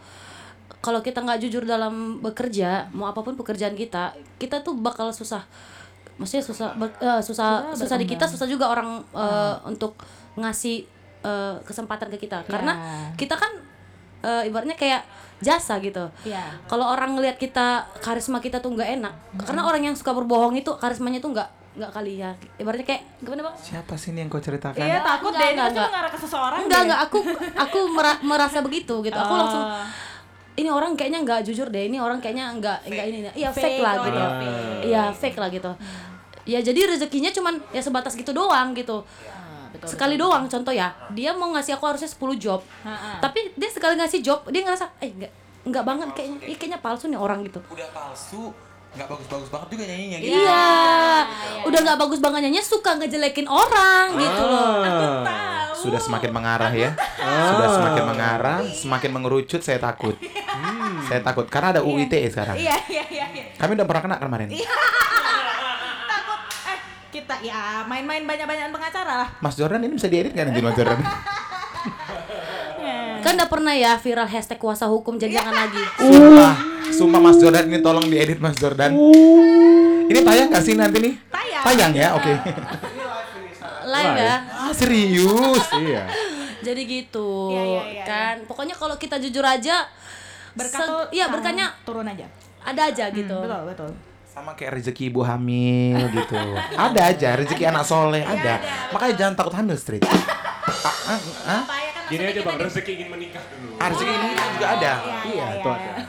Speaker 3: Kalau kita nggak jujur dalam bekerja, mau apapun pekerjaan kita, kita tuh bakal susah. Maksudnya susah ber- eh, susah
Speaker 2: Susah
Speaker 3: susah di
Speaker 2: berkembang.
Speaker 3: kita,
Speaker 2: Ah.
Speaker 3: susah juga orang eh, untuk ngasih eh, kesempatan ke kita. Karena
Speaker 2: Ya.
Speaker 3: kita kan eh, ibaratnya kayak jasa gitu.
Speaker 2: Iya.
Speaker 3: Kalau orang ngelihat kita karisma kita tuh nggak enak, karena orang yang suka berbohong itu karismanya tuh nggak nggak kali ya. Ibaratnya kayak gimana bang?
Speaker 6: Siapa sih ini yang kau ceritakan?
Speaker 2: Iya, takut
Speaker 3: Enggak,
Speaker 2: deh ini
Speaker 3: enggak,
Speaker 2: pasti
Speaker 3: enggak.
Speaker 2: mengarah ke seseorang.
Speaker 3: Enggak
Speaker 2: deh.
Speaker 3: enggak aku aku mera- merasa begitu gitu. Aku langsung
Speaker 2: Oh.
Speaker 3: ini orang kayaknya nggak jujur deh ini orang kayaknya nggak nggak ini iya fake, lah
Speaker 2: oh,
Speaker 3: gitu
Speaker 2: iya,
Speaker 3: iya fake lah gitu ya jadi rezekinya cuman ya sebatas gitu doang gitu
Speaker 2: Ah, betul,
Speaker 3: sekali
Speaker 2: betul.
Speaker 3: doang contoh ya dia mau ngasih aku harusnya 10 job
Speaker 2: Ha-ha.
Speaker 3: tapi dia sekali ngasih job dia ngerasa eh nggak nggak banget kayaknya Ih, kayaknya palsu nih orang gitu
Speaker 6: udah palsu nggak bagus-bagus banget juga nyanyinya gitu
Speaker 3: Iya, udah nggak bagus banget nyanyinya suka ngejelekin orang gitu loh.
Speaker 4: Ah,
Speaker 6: sudah semakin mengarah ya
Speaker 2: Oh.
Speaker 6: sudah semakin mengarah semakin mengerucut saya takut saya takut karena ada UU ITE sekarang
Speaker 2: Hmm. Iya, iya, iya, iya.
Speaker 6: kami udah pernah kena kemarin
Speaker 2: Takut eh kita ya main-main banyak-banyakan pengacara lah.
Speaker 6: Mas Jordan ini bisa diedit nggak nanti Mas Jordan
Speaker 2: Uh. Iya.
Speaker 3: Kan udah pernah ya viral hashtag kuasa hukum jadi jangan lagi.
Speaker 6: sumpah sumpah Mas Jordan ini tolong diedit Mas Jordan ini tayang nggak sih nanti nih
Speaker 2: Tayang.
Speaker 6: ya oke
Speaker 3: Live ya.
Speaker 6: Ah, serius
Speaker 4: iya.
Speaker 3: Jadi gitu.
Speaker 2: Iya, iya, iya,
Speaker 3: kan pokoknya kalau kita jujur aja
Speaker 2: Berkat
Speaker 3: se-
Speaker 2: tuh
Speaker 3: iya
Speaker 2: ah,
Speaker 3: berkatnya
Speaker 2: turun aja.
Speaker 3: ada aja gitu.
Speaker 2: Betul, betul.
Speaker 6: sama kayak rezeki ibu hamil gitu ada aja rezeki anak soleh ada makanya jangan takut hamil street ah, ah, ah.
Speaker 2: Apa ya kan
Speaker 4: Gini
Speaker 2: maksudnya
Speaker 4: aja
Speaker 2: kita
Speaker 4: bang,
Speaker 2: di-
Speaker 4: rezeki ingin menikah dulu.
Speaker 6: Ah, rezeki ini kan juga ada
Speaker 2: Iya, iya, iya.
Speaker 4: itu ada.
Speaker 3: iya.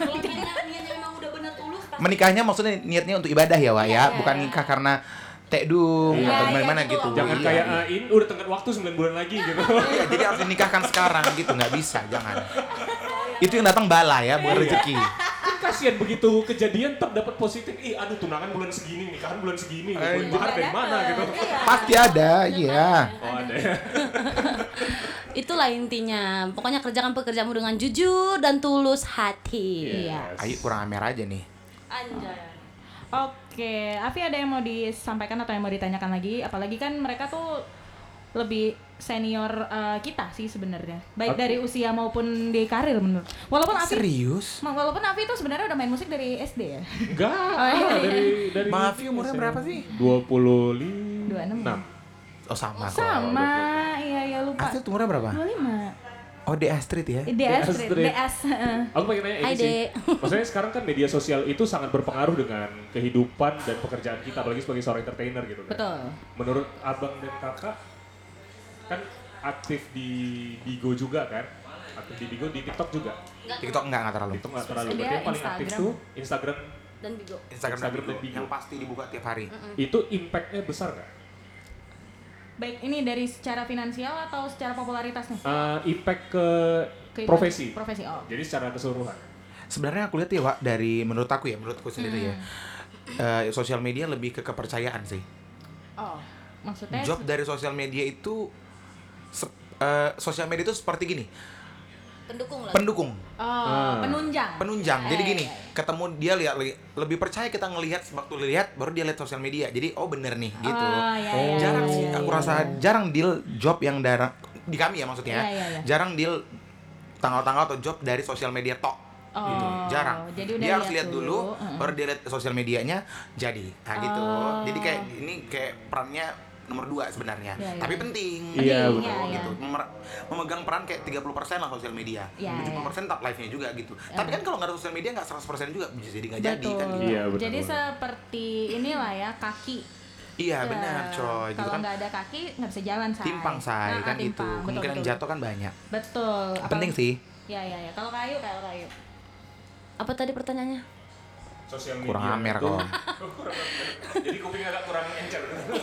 Speaker 6: menikahnya maksudnya niatnya untuk ibadah ya Wak ya bukan nikah karena tekdung
Speaker 4: Iya,
Speaker 6: atau
Speaker 2: iya,
Speaker 6: gimana
Speaker 2: betul.
Speaker 6: gitu
Speaker 4: Jangan
Speaker 6: Iya.
Speaker 4: kayak ah, ini udah tenggat waktu 9 bulan lagi gitu.
Speaker 6: Iya, jadi harus dinikahkan sekarang gitu nggak bisa jangan itu yang datang bala ya bukan rezeki
Speaker 4: Kan kasihan begitu kejadian tetap dapat positif. Ih, aduh tunangan bulan segini, nikahan bulan segini. Bulan
Speaker 6: Eh,
Speaker 4: mahar
Speaker 2: Iya,
Speaker 4: dari mana gitu.
Speaker 6: pasti ada iya
Speaker 4: Oh, ada ya.
Speaker 3: Itulah intinya. Pokoknya kerjakan pekerjaanmu dengan jujur dan tulus hati.
Speaker 2: Iya.
Speaker 6: ayo kurang amer aja nih
Speaker 3: Anjay.
Speaker 2: Oke, Afi ada yang mau disampaikan atau yang mau ditanyakan lagi? Apalagi kan mereka tuh lebih senior eh, kita sih sebenarnya, baik dari usia maupun di karir menurut. Walaupun Afi,
Speaker 6: serius
Speaker 2: Ma- walaupun Afi itu sebenarnya udah main musik dari SD ya.
Speaker 4: Enggak,
Speaker 2: Oh, iya, iya.
Speaker 4: dari dari
Speaker 6: Maaf, Yu, umurnya berapa sih?
Speaker 4: 25
Speaker 2: 26.
Speaker 6: oh sama kok
Speaker 2: Sama, iya iya lupa.
Speaker 6: Astrid umurnya berapa
Speaker 2: 25.
Speaker 6: oh di Astrid ya
Speaker 2: DS,
Speaker 4: DS.
Speaker 2: DS. heeh.
Speaker 4: Aku pengen nanya
Speaker 3: Hai,
Speaker 4: ini sih.
Speaker 3: Dek.
Speaker 4: Maksudnya sekarang kan media sosial itu sangat berpengaruh dengan kehidupan dan pekerjaan kita apalagi sebagai seorang entertainer gitu kan.
Speaker 2: Betul.
Speaker 4: Menurut Abang dan Kakak kan aktif di Bigo juga kan? Aktif di Bigo, di TikTok juga.
Speaker 6: TikTok enggak enggak terlalu
Speaker 4: TikTok nggak terlalu
Speaker 2: Dia
Speaker 4: berarti yang paling aktif
Speaker 2: Instagram.
Speaker 4: tuh Instagram
Speaker 3: Dan bigo.
Speaker 6: Instagram,
Speaker 4: Instagram
Speaker 6: dan
Speaker 4: dan Bigo.
Speaker 6: yang pasti dibuka tiap hari
Speaker 4: itu impactnya besar nggak?
Speaker 2: Baik ini dari secara finansial atau secara popularitas nih?
Speaker 4: Eh, impact ke
Speaker 2: Kehidupan-
Speaker 4: profesi.
Speaker 2: Profesi. Oh.
Speaker 4: Jadi secara keseluruhan.
Speaker 6: sebenarnya aku lihat ya Wak, dari menurut aku ya menurutku sendiri ya eh, sosial media lebih ke kepercayaan sih
Speaker 2: Oh. Maksudnya
Speaker 6: job dari sosial media itu sep- eh, sosial media itu seperti gini
Speaker 3: Pendukung lah.
Speaker 6: pendukung
Speaker 2: Oh,
Speaker 4: Ah.
Speaker 2: penunjang.
Speaker 6: penunjang jadi
Speaker 2: Eh,
Speaker 6: gini ketemu dia lihat li- lebih percaya kita ngelihat waktu lihat baru dia lihat sosial media jadi oh bener nih gitu
Speaker 2: Oh, iya, iya,
Speaker 6: jarang
Speaker 2: iya,
Speaker 6: sih
Speaker 2: iya,
Speaker 6: aku
Speaker 2: iya.
Speaker 6: rasa jarang deal job yang darah di kami ya maksudnya
Speaker 2: Iya, iya, iya.
Speaker 6: jarang deal tanggal-tanggal atau job dari sosial media tok
Speaker 2: Oh,
Speaker 6: gitu jarang
Speaker 2: Jadi udah
Speaker 6: dia harus lihat dulu
Speaker 2: heeh.
Speaker 6: baru dia lihat sosial medianya jadi nah gitu
Speaker 2: Oh.
Speaker 6: jadi kayak ini kayak perannya nomor dua sebenarnya
Speaker 2: Iya, iya.
Speaker 6: tapi penting
Speaker 4: Iya,
Speaker 6: gitu,
Speaker 2: betul.
Speaker 6: gitu. Memer- memegang peran kayak 30% lah sosial media
Speaker 2: Iya, iya.
Speaker 6: 70% top live-nya juga gitu tapi kan kalau nggak ada sosial media nggak 100% juga bisa jadi nggak jadi
Speaker 2: Betul.
Speaker 6: kan gitu.
Speaker 4: Iya, betul
Speaker 2: Jadi
Speaker 4: banget.
Speaker 2: seperti inilah ya kaki.
Speaker 6: iya
Speaker 2: Ya,
Speaker 6: benar coy gitu
Speaker 2: Kalau
Speaker 6: kan
Speaker 2: nggak ada kaki nggak bisa jalan say.
Speaker 6: timpang say
Speaker 2: Nah,
Speaker 6: kan
Speaker 2: timpang.
Speaker 6: itu
Speaker 2: Betul,
Speaker 6: kemungkinan
Speaker 2: betul.
Speaker 6: jatuh kan banyak
Speaker 2: Betul.
Speaker 6: penting
Speaker 2: Apalagi-
Speaker 6: sih
Speaker 2: Iya iya iya. Kalau kayu kalau kayu.
Speaker 3: Apa tadi pertanyaannya?
Speaker 4: Sosial media.
Speaker 6: kurang amer
Speaker 4: itu-
Speaker 6: kok
Speaker 4: Jadi kuping agak kurang encer.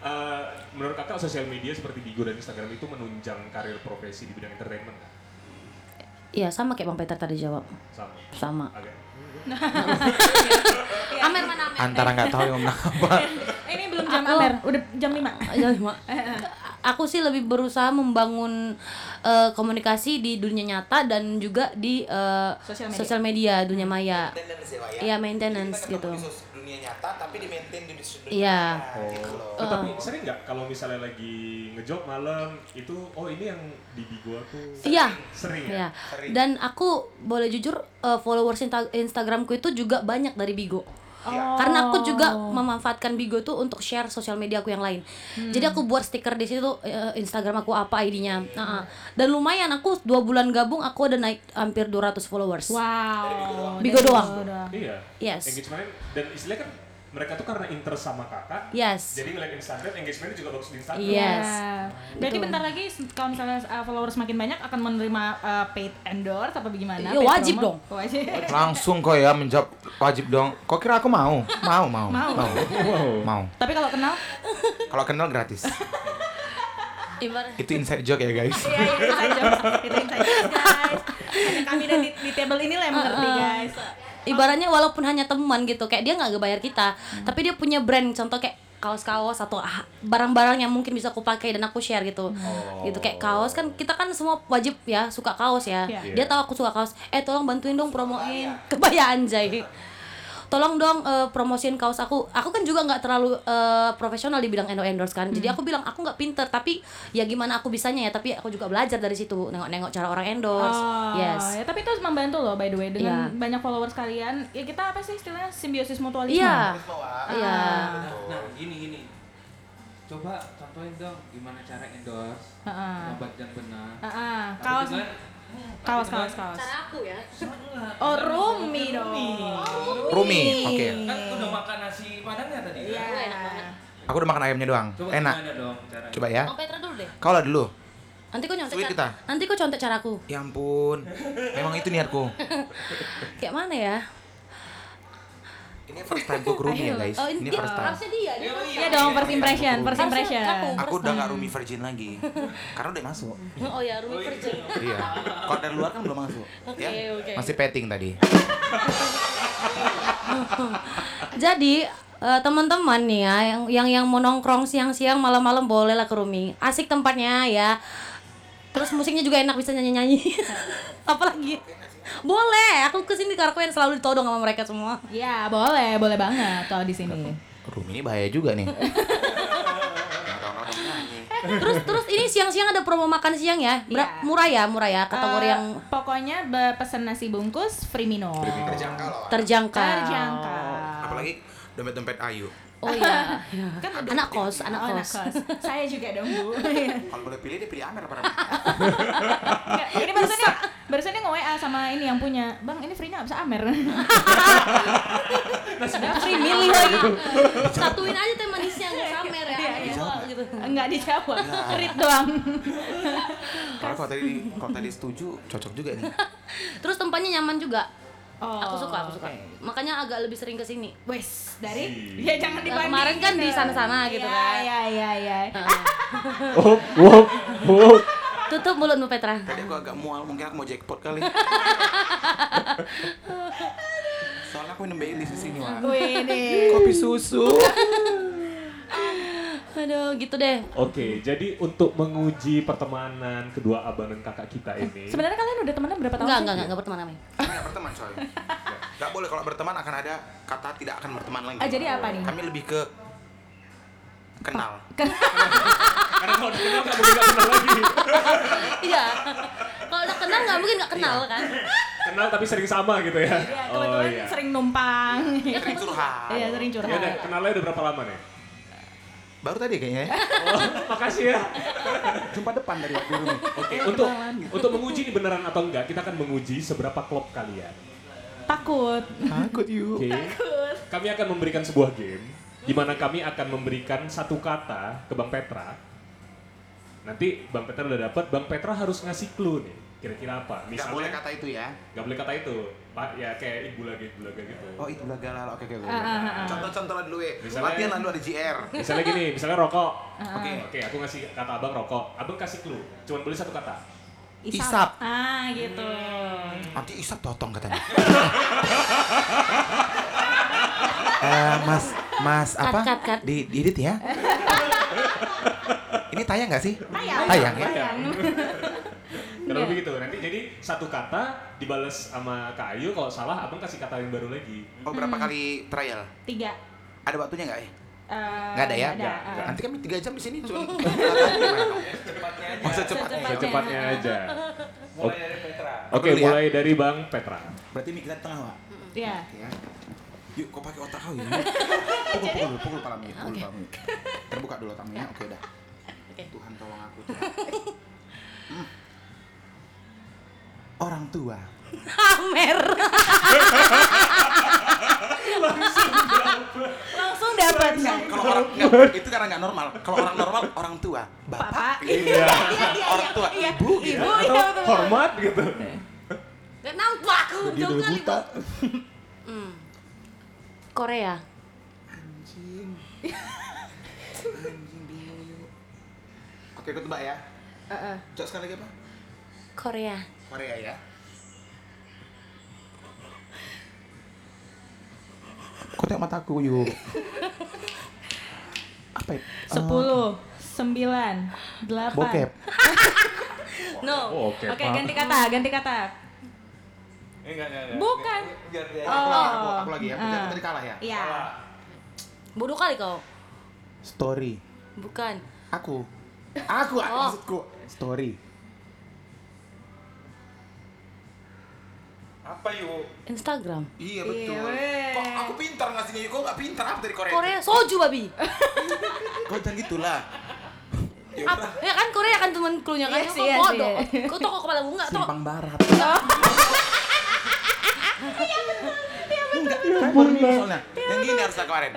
Speaker 4: Eh, menurut kakak sosial media seperti Bigo dan Instagram itu menunjang karir profesi di bidang entertainment nggak?
Speaker 3: Iya sama kayak Bang Peter tadi jawab.
Speaker 4: Sama.
Speaker 3: Sama.
Speaker 4: Agak.
Speaker 3: Amer mana Amer?
Speaker 6: antara nggak tahu ya, yang menang apa
Speaker 2: Eh, ini belum jam
Speaker 4: Ah, oh.
Speaker 3: Aku-
Speaker 2: Amer. Udah jam 5
Speaker 3: Ayo, Mak. Iya, Aku sih lebih berusaha membangun eh, komunikasi di dunia nyata dan juga di eh,
Speaker 2: Sosial media.
Speaker 3: sosial media. dunia maya.
Speaker 6: maintenance ya Wak, ya?
Speaker 3: Iya, maintenance
Speaker 6: Jadi kita ketemu
Speaker 3: gitu.
Speaker 6: di sos- dunia nyata tapi di maintain di dunia
Speaker 3: Iya.
Speaker 6: nyata, gitu loh.
Speaker 4: Eh, Tapi sering nggak kalau misalnya lagi ngejob malam itu oh ini yang di Bigo aku
Speaker 3: Iya.
Speaker 4: sering ya.
Speaker 3: Iya. Dan aku boleh jujur eh, followers insta- Instagramku itu juga banyak dari Bigo. Oh. Karena aku juga memanfaatkan Bigo tuh untuk share sosial media aku yang lain. Jadi aku buat stiker di situ eh, Instagram aku apa ID-nya. Nah, dan lumayan aku dua bulan gabung aku ada naik hampir 200 followers.
Speaker 2: Wow.
Speaker 3: Bigo doang.
Speaker 2: Bigo doang.
Speaker 4: Iya.
Speaker 3: Yes.
Speaker 4: Engagement dan istilahnya kan mereka tuh karena interest sama kakak
Speaker 3: Yes.
Speaker 4: jadi ngeliat Instagram engagementnya juga bagus di Instagram
Speaker 3: Yes.
Speaker 2: Ya. Berarti
Speaker 3: Betul.
Speaker 2: bentar lagi se- kalau misalnya uh, followers makin banyak akan menerima uh, paid endorse apa gimana?
Speaker 3: Iya,
Speaker 2: Paid
Speaker 3: wajib
Speaker 2: promo? Wajib.
Speaker 6: Langsung kok ya menjawab wajib dong. Kok kira aku mau? Mau, mau.
Speaker 2: Mau.
Speaker 6: Mau. Mau.
Speaker 2: Tapi kalau kenal
Speaker 6: Kalau kenal gratis.
Speaker 3: Ibarat
Speaker 6: Itu inside joke ya, guys.
Speaker 2: Iya, itu inside jokes. Itu inside jokes, guys. Hanya kami dan di, di table inilah yang mengerti, guys.
Speaker 3: ibaratnya walaupun hanya teman gitu kayak dia nggak ngebayar kita tapi dia punya brand contoh kayak kaos-kaos atau ah- barang-barang yang mungkin bisa aku pakai dan aku share gitu gitu kayak kaos kan kita kan semua wajib ya suka kaos ya
Speaker 2: Iya.
Speaker 3: dia tahu aku suka kaos eh tolong bantuin dong promoin kebaya anjay tolong dong eh, promosiin kaos aku aku kan juga nggak terlalu eh, profesional di bidang endo endorse kan jadi aku bilang aku nggak pinter tapi ya gimana aku bisanya ya tapi aku juga belajar dari situ nengok-nengok cara orang endorse
Speaker 2: Oh, ya,
Speaker 3: yes
Speaker 2: tapi itu membantu loh by the way dengan
Speaker 3: Iya.
Speaker 2: banyak followers kalian. Ya kita apa sih istilahnya simbiosis mutualisme. Ah.
Speaker 3: iya iya
Speaker 7: Nah, nah, gini gini. Coba contohin dong gimana cara endorse
Speaker 2: Heeh.
Speaker 7: obat yang benar.
Speaker 2: Ah, ah.
Speaker 7: Tapi
Speaker 2: kaos
Speaker 7: juga-
Speaker 2: kaos kaos kaos.
Speaker 3: aku ya
Speaker 2: Oh, Rumi Oh, dong.
Speaker 6: Rumi. Oke.
Speaker 7: Kan udah makan nasi padangnya tadi.
Speaker 2: Iya.
Speaker 7: Kan?
Speaker 6: Aku udah makan ayamnya doang.
Speaker 7: Coba
Speaker 6: Enak.
Speaker 7: gimana dong caranya?
Speaker 6: Coba ya.
Speaker 3: Mau Petra dulu deh.
Speaker 6: Kau lah dulu.
Speaker 3: Nanti kau nyontek
Speaker 6: Sulit
Speaker 3: cara-
Speaker 6: kita.
Speaker 3: Nanti kau contek caraku.
Speaker 6: Ya ampun. Memang itu niatku.
Speaker 3: Kayak mana ya?
Speaker 6: Ini first time ku ke Rumi ya, guys.
Speaker 3: Oh,
Speaker 6: Ini
Speaker 3: dia
Speaker 6: first time.
Speaker 3: harusnya dia. dia harus-
Speaker 2: Iya dong, first impression, first
Speaker 3: Harusnya
Speaker 2: impression.
Speaker 3: kamu.
Speaker 6: Aku udah gak Rumi virgin lagi. Karena udah masuk.
Speaker 3: Oh ya, Rumi kerja.
Speaker 6: Iya. Kalau dari luar kan belum masuk.
Speaker 3: Oke,
Speaker 6: ya?
Speaker 3: oke.
Speaker 6: Masih petting tadi.
Speaker 3: Jadi eh, teman-teman nih ya yang yang yang mau nongkrong siang-siang malam-malam bolehlah ke Rumi. Asik tempatnya ya. Terus musiknya juga enak bisa nyanyi-nyanyi. Apalagi boleh, aku kesini karena aku yang selalu ditodong sama mereka semua.
Speaker 2: Ya, boleh, boleh banget kalau di sini.
Speaker 6: Rumi ini bahaya juga nih.
Speaker 3: Terus terus ini siang-siang ada promo makan siang ya, Ber-
Speaker 2: Iya.
Speaker 3: murah ya, murah ya, kategori
Speaker 2: Eh,
Speaker 3: yang
Speaker 2: pokoknya be- pesen nasi bungkus free minum.
Speaker 6: Terjangkau loh.
Speaker 3: terjangkau.
Speaker 2: Terjangkau.
Speaker 6: Apalagi dompet-dompet Ayu.
Speaker 3: Oh iya.
Speaker 2: Kan ada-
Speaker 3: anak kos, anak
Speaker 2: Oh,
Speaker 3: kos.
Speaker 2: Saya juga dong, Bu.
Speaker 6: Kalau boleh pilih dia pilih Amer pada
Speaker 2: Enggak, ini barusan dia, barusan dia nge-WA sama ini yang punya. Bang, ini free-nya nggak bisa Amer.
Speaker 3: Free milih lagi. Satuin aja teh manisnya enggak samer ya. Aneh gitu.
Speaker 2: Enggak dijawab. Read doang.
Speaker 6: Kalau kalau tadi kalau tadi setuju cocok juga nih.
Speaker 3: Terus tempatnya nyaman juga.
Speaker 2: Oh,
Speaker 3: Aku suka, aku suka.
Speaker 2: oke.
Speaker 3: Makanya agak lebih sering ke sini.
Speaker 2: Wes, dari ya jangan dibanding.
Speaker 3: kemarin kan di sana-sana gitu kan. Nah.
Speaker 2: Iya, iya, iya.
Speaker 1: Wop, wop, wop.
Speaker 3: Tutup mulutmu Petra.
Speaker 6: Tadi aku agak mual, mungkin aku mau jackpot kali. Soalnya aku minum Baileys di sini, Wak.
Speaker 2: Wih, deh.
Speaker 6: Kopi susu.
Speaker 3: Aduh, gitu deh.
Speaker 4: Oke, jadi untuk menguji pertemanan kedua abang dan kakak kita ini,
Speaker 2: Eh, Sebenarnya kalian udah temenan berapa tahun? sih?
Speaker 3: Enggak,
Speaker 2: Iya,
Speaker 3: enggak, enggak, enggak berteman namanya.
Speaker 6: Kami gak berteman, coy. Gak boleh kalau berteman akan ada kata tidak akan berteman lagi.
Speaker 2: Ah, jadi apa nih?
Speaker 6: Kami lebih ke kenal.
Speaker 4: karena kalau dikenal nggak mungkin nggak kenal lagi.
Speaker 3: Iya. Kalau udah kenal enggak mungkin enggak kenal kan.
Speaker 4: Kenal tapi sering sama gitu ya.
Speaker 2: Iya,
Speaker 4: oh
Speaker 2: kebetulan
Speaker 4: iya.
Speaker 2: sering numpang.
Speaker 6: Sering curhat.
Speaker 2: Iya, sering
Speaker 4: Ya udah,
Speaker 2: curhat.
Speaker 4: kenalnya udah berapa lama nih?
Speaker 6: Baru tadi kayaknya. ya.
Speaker 4: Oh, makasih ya.
Speaker 6: Jumpa depan dari waktu dulu.
Speaker 4: Oke, untuk untuk menguji ini beneran atau enggak, kita akan menguji seberapa klop kalian.
Speaker 2: Takut.
Speaker 6: Takut yuk.
Speaker 4: Oke. Kami akan memberikan sebuah game di mana kami akan memberikan satu kata ke Bang Petra. Nanti Bang Petra udah dapat, Bang Petra harus ngasih clue nih. Kira-kira apa?
Speaker 6: Gak
Speaker 4: Misalnya
Speaker 6: boleh kata itu ya.
Speaker 4: Gak boleh kata itu, Pak. Ya kayak ibu lagi, ibu lagi gitu.
Speaker 6: Oh itu gagal lah. Oke oke. oke.
Speaker 2: Ah, ah, ah.
Speaker 6: Contoh-contoh lah dulu ya.
Speaker 4: Misalnya-
Speaker 6: Latihan lah dulu ada GR.
Speaker 4: Misalnya gini, misalnya rokok.
Speaker 6: Oke.
Speaker 4: Oke, aku ngasih kata abang rokok. Abang kasih clue. Cuman boleh satu kata.
Speaker 6: Isap. Hmm.
Speaker 2: Ah, gitu.
Speaker 6: Nanti isap totong katanya. Eh, mas, mas apa?
Speaker 3: cut, cut.
Speaker 6: Di, di edit ya. Ini tayang nggak sih?
Speaker 2: Tayang.
Speaker 6: Tayang ya.
Speaker 4: Tayang. Kalau
Speaker 2: Enggak.
Speaker 4: begitu, nanti jadi satu kata dibales sama Kak Ayu. Kalau salah, abang kasih kata yang baru lagi.
Speaker 6: Oh berapa kali trial?
Speaker 2: Tiga.
Speaker 6: Ada waktunya nggak ya?
Speaker 2: Eh,
Speaker 6: Nggak ada ya?
Speaker 4: Nggak,
Speaker 2: ah.
Speaker 4: nggak.
Speaker 6: Nanti kami tiga jam di sini cuma. Secepatnya aja. Oh, secepatnya.
Speaker 2: Secepatnya.
Speaker 4: Secepatnya aja.
Speaker 7: Mulai dari Petra.
Speaker 4: Oke,
Speaker 6: Aku dulu ya.
Speaker 4: mulai dari Bang Petra.
Speaker 6: Berarti mikiran tengah, Wak.
Speaker 2: Iya.
Speaker 6: Ya. Yuk, kau pakai otak kau ya. Pukul, pukul, dulu, pukul palamu, pukul palamu. Terbuka dulu otaknya, oke udah. Tuhan tolong aku. Tuhan. Hmm. Orang tua.
Speaker 3: Amer. Eh,
Speaker 6: Iya. Eh, itu karena nggak normal. Kalau orang normal orang tua,
Speaker 2: Bapak.
Speaker 6: bapak, gitu.
Speaker 2: Iya, iya, iya.
Speaker 6: orang tua,
Speaker 2: Iya.
Speaker 6: ibu, gitu.
Speaker 2: Ibu, iya betul.
Speaker 1: Hormat gitu.
Speaker 3: Gak nampak
Speaker 1: Gitu
Speaker 3: dong kali,
Speaker 1: buta.
Speaker 3: Bang. Hmm. Korea.
Speaker 6: Oke, aku tebak ya.
Speaker 2: Heeh.
Speaker 6: Cok sekali lagi apa?
Speaker 3: Korea.
Speaker 6: Korea ya. Kok tengok mataku, yuk. apa ya? Eh,
Speaker 2: Sepuluh, sembilan, delapan.
Speaker 6: bokep.
Speaker 3: No.
Speaker 4: Oh, oke.
Speaker 2: Oke, ganti kata, ganti kata.
Speaker 7: Eh, enggak, enggak,
Speaker 2: Bukan.
Speaker 7: Biar dia.
Speaker 6: Aku,
Speaker 2: Oh.
Speaker 6: lagi, aku, aku lagi ya. Aku
Speaker 2: Ah.
Speaker 6: tadi kalah ya.
Speaker 2: Iya.
Speaker 3: Bodoh kali kau.
Speaker 6: Story.
Speaker 3: Bukan.
Speaker 6: Aku. Aku
Speaker 3: Oh.
Speaker 6: maksudku. Story.
Speaker 7: Apa yuk?
Speaker 3: Instagram.
Speaker 6: Iya
Speaker 2: betul.
Speaker 6: betul.
Speaker 2: weh.
Speaker 6: Kok aku pintar ngasihnya? Kok nggak pintar apa dari Korea?
Speaker 3: Korea soju babi.
Speaker 6: Kok jangan gitulah. Ya
Speaker 3: Apa?
Speaker 6: udah.
Speaker 3: Ya kan Korea kan temen klunya kan.
Speaker 2: Iya
Speaker 3: Kau
Speaker 2: sih, iya
Speaker 3: bodoh.
Speaker 2: sih.
Speaker 3: Kau toko kepala bunga toh.
Speaker 6: Simpang barat.
Speaker 1: Ya ampun
Speaker 6: Baru minggu
Speaker 1: lah.
Speaker 6: soalnya. Yang gini harusnya kemarin.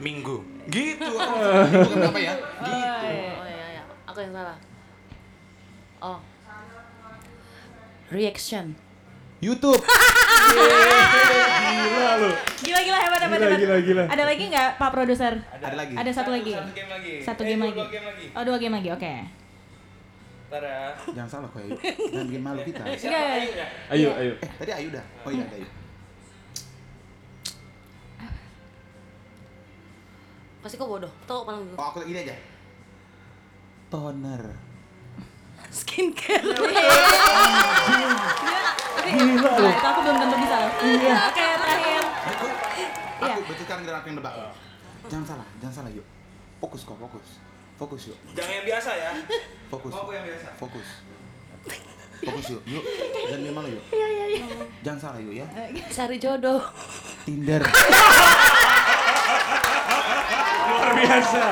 Speaker 6: Minggu. Gitu. aku. Bukan apa ya?
Speaker 2: Ah.
Speaker 6: Gitu.
Speaker 3: Oh iya iya. Aku yang salah. Oh. Reaction.
Speaker 6: YouTube.
Speaker 1: Gila lu.
Speaker 2: Gila gila hebat hebat
Speaker 1: Gila,
Speaker 2: hebat.
Speaker 1: gila, gila.
Speaker 2: Ada lagi nggak Pak Produser?
Speaker 6: Ada lagi.
Speaker 2: Ada satu lagi.
Speaker 7: Satu game lagi.
Speaker 2: Satu
Speaker 7: Eh,
Speaker 2: game
Speaker 7: dua-
Speaker 2: lagi.
Speaker 7: dua game lagi. Eh,
Speaker 2: Oh dua game lagi, oke.
Speaker 7: Tara.
Speaker 6: Jangan salah kok Ayu. Jangan bikin malu kita. Eh,
Speaker 7: Eh, siapa
Speaker 2: Enggak.
Speaker 7: Ayu ya?
Speaker 2: Iya.
Speaker 4: Ayo, ayo.
Speaker 6: tadi Ayu dah. Oh iya ada Ayu.
Speaker 3: Pasti kau bodoh. Toko kepala bunga.
Speaker 6: Oh aku gini aja. Toner.
Speaker 3: Skincare.
Speaker 2: Gila. Itu aku belum tentu bisa. Iya. Oke, terakhir.
Speaker 6: Aku,
Speaker 2: Iya.
Speaker 6: aku betul kan, sekarang giliran aku yang nebak. Jangan salah, jangan salah yuk. Fokus kok, fokus. Fokus yuk.
Speaker 7: Jangan yang biasa ya.
Speaker 6: Fokus.
Speaker 7: Mau aku yang biasa?
Speaker 6: Fokus. Fokus yuk. Yuk, jangan bikin malu yuk.
Speaker 2: Iya, iya, Eh. iya.
Speaker 6: Jangan salah yuk ya.
Speaker 3: Cari jodoh.
Speaker 6: Tinder.
Speaker 1: Luar biasa.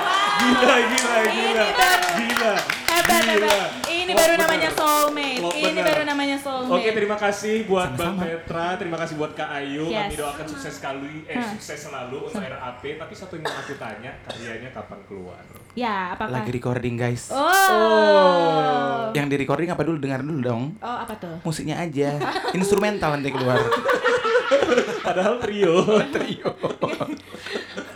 Speaker 1: Gila, gila, gila.
Speaker 2: Ini baru-
Speaker 1: Gila.
Speaker 2: Hebat,
Speaker 1: Gila.
Speaker 2: hebat. Ini
Speaker 1: Klop
Speaker 2: baru
Speaker 1: bener.
Speaker 2: namanya soulmate.
Speaker 1: Klop
Speaker 2: Ini
Speaker 1: bener.
Speaker 2: baru namanya soulmate.
Speaker 4: Oke, terima kasih buat Bang
Speaker 6: Sama-sama.
Speaker 4: Petra, terima kasih buat Kak Ayu. Kami
Speaker 2: Yes.
Speaker 4: doakan sukses sekali, eh
Speaker 2: Hah.
Speaker 4: sukses selalu untuk RAP. Tapi satu yang mau aku tanya, karyanya kapan keluar?
Speaker 2: Ya, apakah?
Speaker 6: Lagi recording guys.
Speaker 2: Oh.
Speaker 6: Yang di recording apa dulu? Dengar dulu dong.
Speaker 2: Oh, apa tuh?
Speaker 6: Musiknya aja. Instrumental nanti keluar.
Speaker 4: Padahal trio.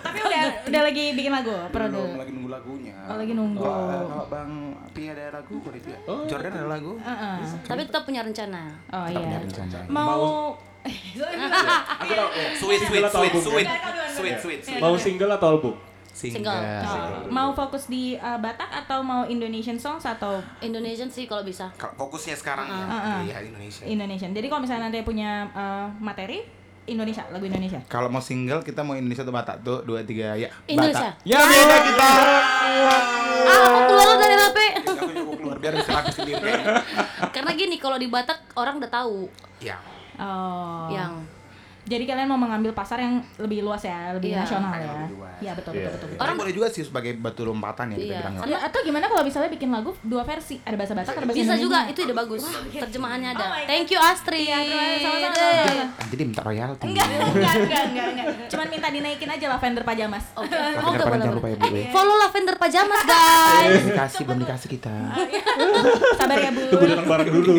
Speaker 2: Tapi udah udah lagi bikin lagu,
Speaker 6: Belum
Speaker 2: produk.
Speaker 6: lagi nunggu lagunya.
Speaker 2: Oh, lagi nunggu.
Speaker 6: Kalau- Kalau Bang Pi ada lagu, boleh tidak? Jordan ada lagu?
Speaker 2: Heeh.
Speaker 3: Tapi tetap punya rencana.
Speaker 2: Oh
Speaker 6: Tetap
Speaker 2: iya.
Speaker 6: nyari rencana.
Speaker 2: Mau
Speaker 4: Aku tahu. eh,
Speaker 6: Sweet, sweet,
Speaker 4: single atau
Speaker 6: sweet,
Speaker 4: album, ya?
Speaker 6: sweet, sweet, sweet, sweet.
Speaker 4: Mau single atau album?
Speaker 3: Single.
Speaker 2: Oh, mau fokus di uh, Batak atau mau Indonesian songs atau
Speaker 3: Indonesian sih kalau bisa.
Speaker 6: Kalau Fokusnya
Speaker 2: Ah,
Speaker 6: sekarang ya, iya Indonesia.
Speaker 2: Indonesian. Jadi kalau misalnya nanti punya uh, materi Indonesia, lagu Indonesia.
Speaker 6: Kalau mau single kita mau Indonesia atau Batak tuh dua tiga ya.
Speaker 3: Indonesia.
Speaker 6: Batak. Ya beda kita.
Speaker 2: Oh.
Speaker 3: Ah, aku keluar dari HP.
Speaker 6: Aku juga keluar biar bisa aku sendiri. kayaknya.
Speaker 3: Karena gini, kalau di Batak orang udah tahu
Speaker 6: Ya.
Speaker 2: Oh.
Speaker 3: yang
Speaker 2: Jadi kalian mau mengambil pasar yang lebih luas ya, lebih
Speaker 3: Iya.
Speaker 2: nasional
Speaker 6: Yang
Speaker 2: ya.
Speaker 6: lebih luas.
Speaker 2: Iya betul,
Speaker 4: Iya,
Speaker 2: betul betul.
Speaker 6: Orang boleh juga sih sebagai batu lompatan ya kita
Speaker 3: Iya.
Speaker 6: bilang. ya.
Speaker 2: Karena- atau gimana kalau misalnya bikin lagu dua versi, ada bahasa Batak, ada bahasa
Speaker 3: bisa
Speaker 2: Indonesia.
Speaker 3: juga itu ide bagus. Terjemahannya ada.
Speaker 2: Oh my God.
Speaker 3: Thank you Astri.
Speaker 2: Iya, sama-sama.
Speaker 3: Deh.
Speaker 2: sama-sama.
Speaker 6: Ah, Jadi minta royalti.
Speaker 2: Enggak, enggak, enggak, enggak, enggak. Cuman minta dinaikin aja lavender pajamas.
Speaker 3: Oke.
Speaker 6: Tapi
Speaker 3: Oh, enggak
Speaker 6: jangan
Speaker 3: boleh.
Speaker 6: lupa ya, Bu,
Speaker 3: Eh,
Speaker 6: ya.
Speaker 3: follow Lavender Pajamas, guys.
Speaker 6: Belum dikasih, belum dikasih kita.
Speaker 2: Sabar ya, Bun.
Speaker 4: Tunggu datang bareng dulu.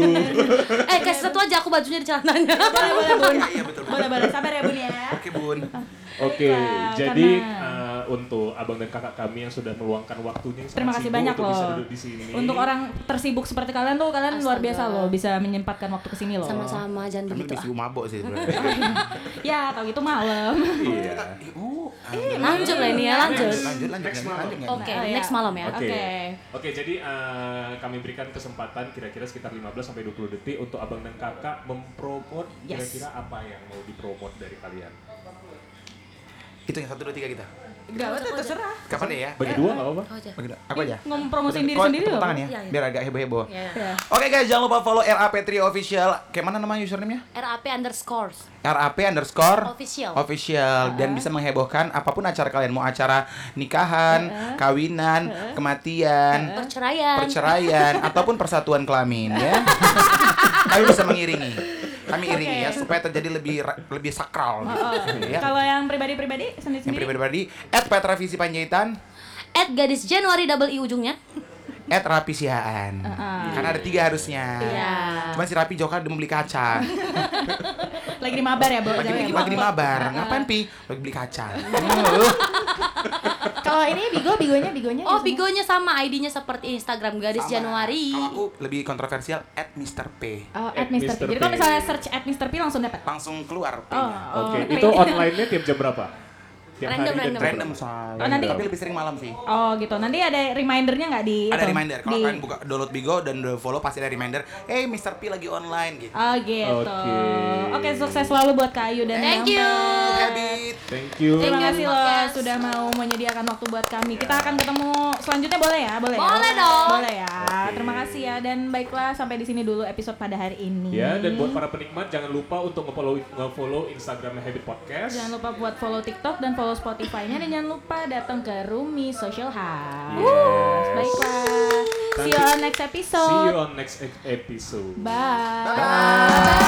Speaker 3: eh, kasih satu aja aku bajunya di celananya.
Speaker 2: Boleh, boleh, Bun.
Speaker 6: Iya betul.
Speaker 2: Boleh, boleh. Sabar ya, Bun ya.
Speaker 6: Oke bun.
Speaker 4: Oke,
Speaker 2: Baiklah,
Speaker 4: jadi
Speaker 2: Iya, karena-
Speaker 4: eh, untuk abang dan kakak kami yang sudah meluangkan waktunya yang sangat
Speaker 2: Terima kasih
Speaker 4: sibuk
Speaker 2: banyak
Speaker 4: untuk
Speaker 2: loh.
Speaker 4: bisa duduk di sini.
Speaker 2: Untuk orang tersibuk seperti kalian tuh kalian luar
Speaker 3: Astaga.
Speaker 2: biasa loh bisa menyempatkan waktu kesini loh.
Speaker 3: Sama-sama, jangan begitu.
Speaker 6: Kami lebih
Speaker 3: ah. Iya.
Speaker 6: sibuk mabok sih sebenarnya.
Speaker 2: Ya, kalau gitu malam.
Speaker 4: Iya.
Speaker 6: Oh,
Speaker 3: Lanjut lah ini ya, lanjut.
Speaker 6: lanjut lanjut lanjut lanjut.
Speaker 3: Oke,
Speaker 6: lanjut.
Speaker 2: Oh, iya.
Speaker 3: next malam ya.
Speaker 4: Oke.
Speaker 2: Oke.
Speaker 4: Oke, jadi eh, kami berikan kesempatan kira-kira sekitar 15 sampai 20 detik untuk abang dan kakak mempromot
Speaker 2: Yes.
Speaker 4: kira-kira apa yang mau dipromot dari kalian.
Speaker 6: Itu yang satu dua tiga kita.
Speaker 2: Enggak, betul terserah.
Speaker 6: Kapan ya?
Speaker 4: Bagi dua nggak apa-apa?
Speaker 3: Kau aja.
Speaker 6: Bagi dua. Aku aja.
Speaker 2: Ngomong promosiin diri
Speaker 6: Kau
Speaker 2: sendiri
Speaker 6: tepuk
Speaker 2: loh.
Speaker 6: tangan ya,
Speaker 3: Iya, iya.
Speaker 6: biar agak heboh heboh.
Speaker 3: Ya.
Speaker 2: Ya.
Speaker 6: Oke guys, jangan lupa follow RAP3 official. Kayak mana nama username-nya?
Speaker 3: RAP underscores.
Speaker 6: RAP underscore
Speaker 3: Official.
Speaker 6: official dan bisa menghebohkan apapun acara kalian mau acara nikahan, kawinan, kematian,
Speaker 3: Perceraian.
Speaker 6: perceraian ataupun persatuan kelamin ya. Kami bisa ya. mengiringi. Kami iringi ya
Speaker 2: Oke.
Speaker 6: supaya terjadi lebih ra- lebih sakral gitu.
Speaker 2: Oh,
Speaker 6: ya.
Speaker 2: Kalau yang pribadi-privadi
Speaker 6: Yang
Speaker 2: sendiri-sendiri.
Speaker 6: pribadi-pribadi at Petra Visi Panjaitan,
Speaker 3: At gadis Januari double i ujungnya.
Speaker 6: at Rapi Sihaan.
Speaker 2: Heeh.
Speaker 6: Karena ada tiga harusnya.
Speaker 2: Iya.
Speaker 6: Cuma si Rapi Joka udah mau beli kaca.
Speaker 2: Lagi di mabar ya, Bo?
Speaker 6: Lagi
Speaker 2: Jangan
Speaker 6: beli
Speaker 2: ya, Bo?
Speaker 6: lagi di mabar. Ngapain Pi? Lagi beli kaca. Hmm,
Speaker 2: Kalau ini Bigo, Bigonya, Bigonya.
Speaker 3: Oh,
Speaker 2: ya,
Speaker 3: bigonya sama ID-nya seperti Instagram gadis
Speaker 6: sama.
Speaker 3: Januari.
Speaker 6: Kalau aku lebih kontroversial at Mr. P.
Speaker 2: semua? Oh, at
Speaker 4: At
Speaker 2: Mr. P.
Speaker 4: Mr.
Speaker 2: Jadi kalau
Speaker 4: P.
Speaker 2: misalnya search at Mr. P langsung dapat.
Speaker 6: Langsung keluar
Speaker 2: Oh,
Speaker 6: P-nya.
Speaker 2: oh,
Speaker 4: Oke,
Speaker 2: P.
Speaker 4: itu online-nya tiap jam berapa? Tiap
Speaker 3: Random,
Speaker 4: hari dan jam
Speaker 6: Random
Speaker 4: berapa?
Speaker 6: soalnya. Iya.
Speaker 2: Oh, nanti-
Speaker 6: Tapi lebih sering malam sih.
Speaker 2: Oh gitu. Nanti ada remindernya nggak di?
Speaker 6: Ada
Speaker 2: itu?
Speaker 6: reminder. Kalau
Speaker 2: Di-
Speaker 6: kalian buka download Bigo dan udah follow pasti ada reminder. Eh, Mr. P lagi online gitu.
Speaker 2: Oh gitu.
Speaker 4: Oke.
Speaker 2: Oke, sukses selalu buat Kayu dan
Speaker 3: Thank
Speaker 2: Bang
Speaker 3: you.
Speaker 2: Pet.
Speaker 6: Habit.
Speaker 4: Thank you.
Speaker 2: Terima
Speaker 3: Thank you,
Speaker 2: kasih loh
Speaker 3: podcast.
Speaker 2: sudah mau menyediakan waktu buat kami. Kita
Speaker 4: Ya.
Speaker 2: akan ketemu selanjutnya boleh ya? Boleh. ya?
Speaker 3: Boleh dong.
Speaker 2: Boleh ya. Terima kasih ya dan baiklah sampai di sini dulu episode pada hari ini.
Speaker 4: Ya, dan buat para penikmat jangan lupa untuk nge-follow nge-follow Instagramnya Habit Podcast.
Speaker 2: Jangan lupa buat follow TikTok dan follow Spotify-nya dan jangan lupa datang ke Rumi Social House.
Speaker 4: Yes.
Speaker 2: Baiklah. See
Speaker 4: Nanti-
Speaker 2: you on next
Speaker 4: See you
Speaker 2: episode.
Speaker 4: on next e- episode.
Speaker 2: Bye. Bye.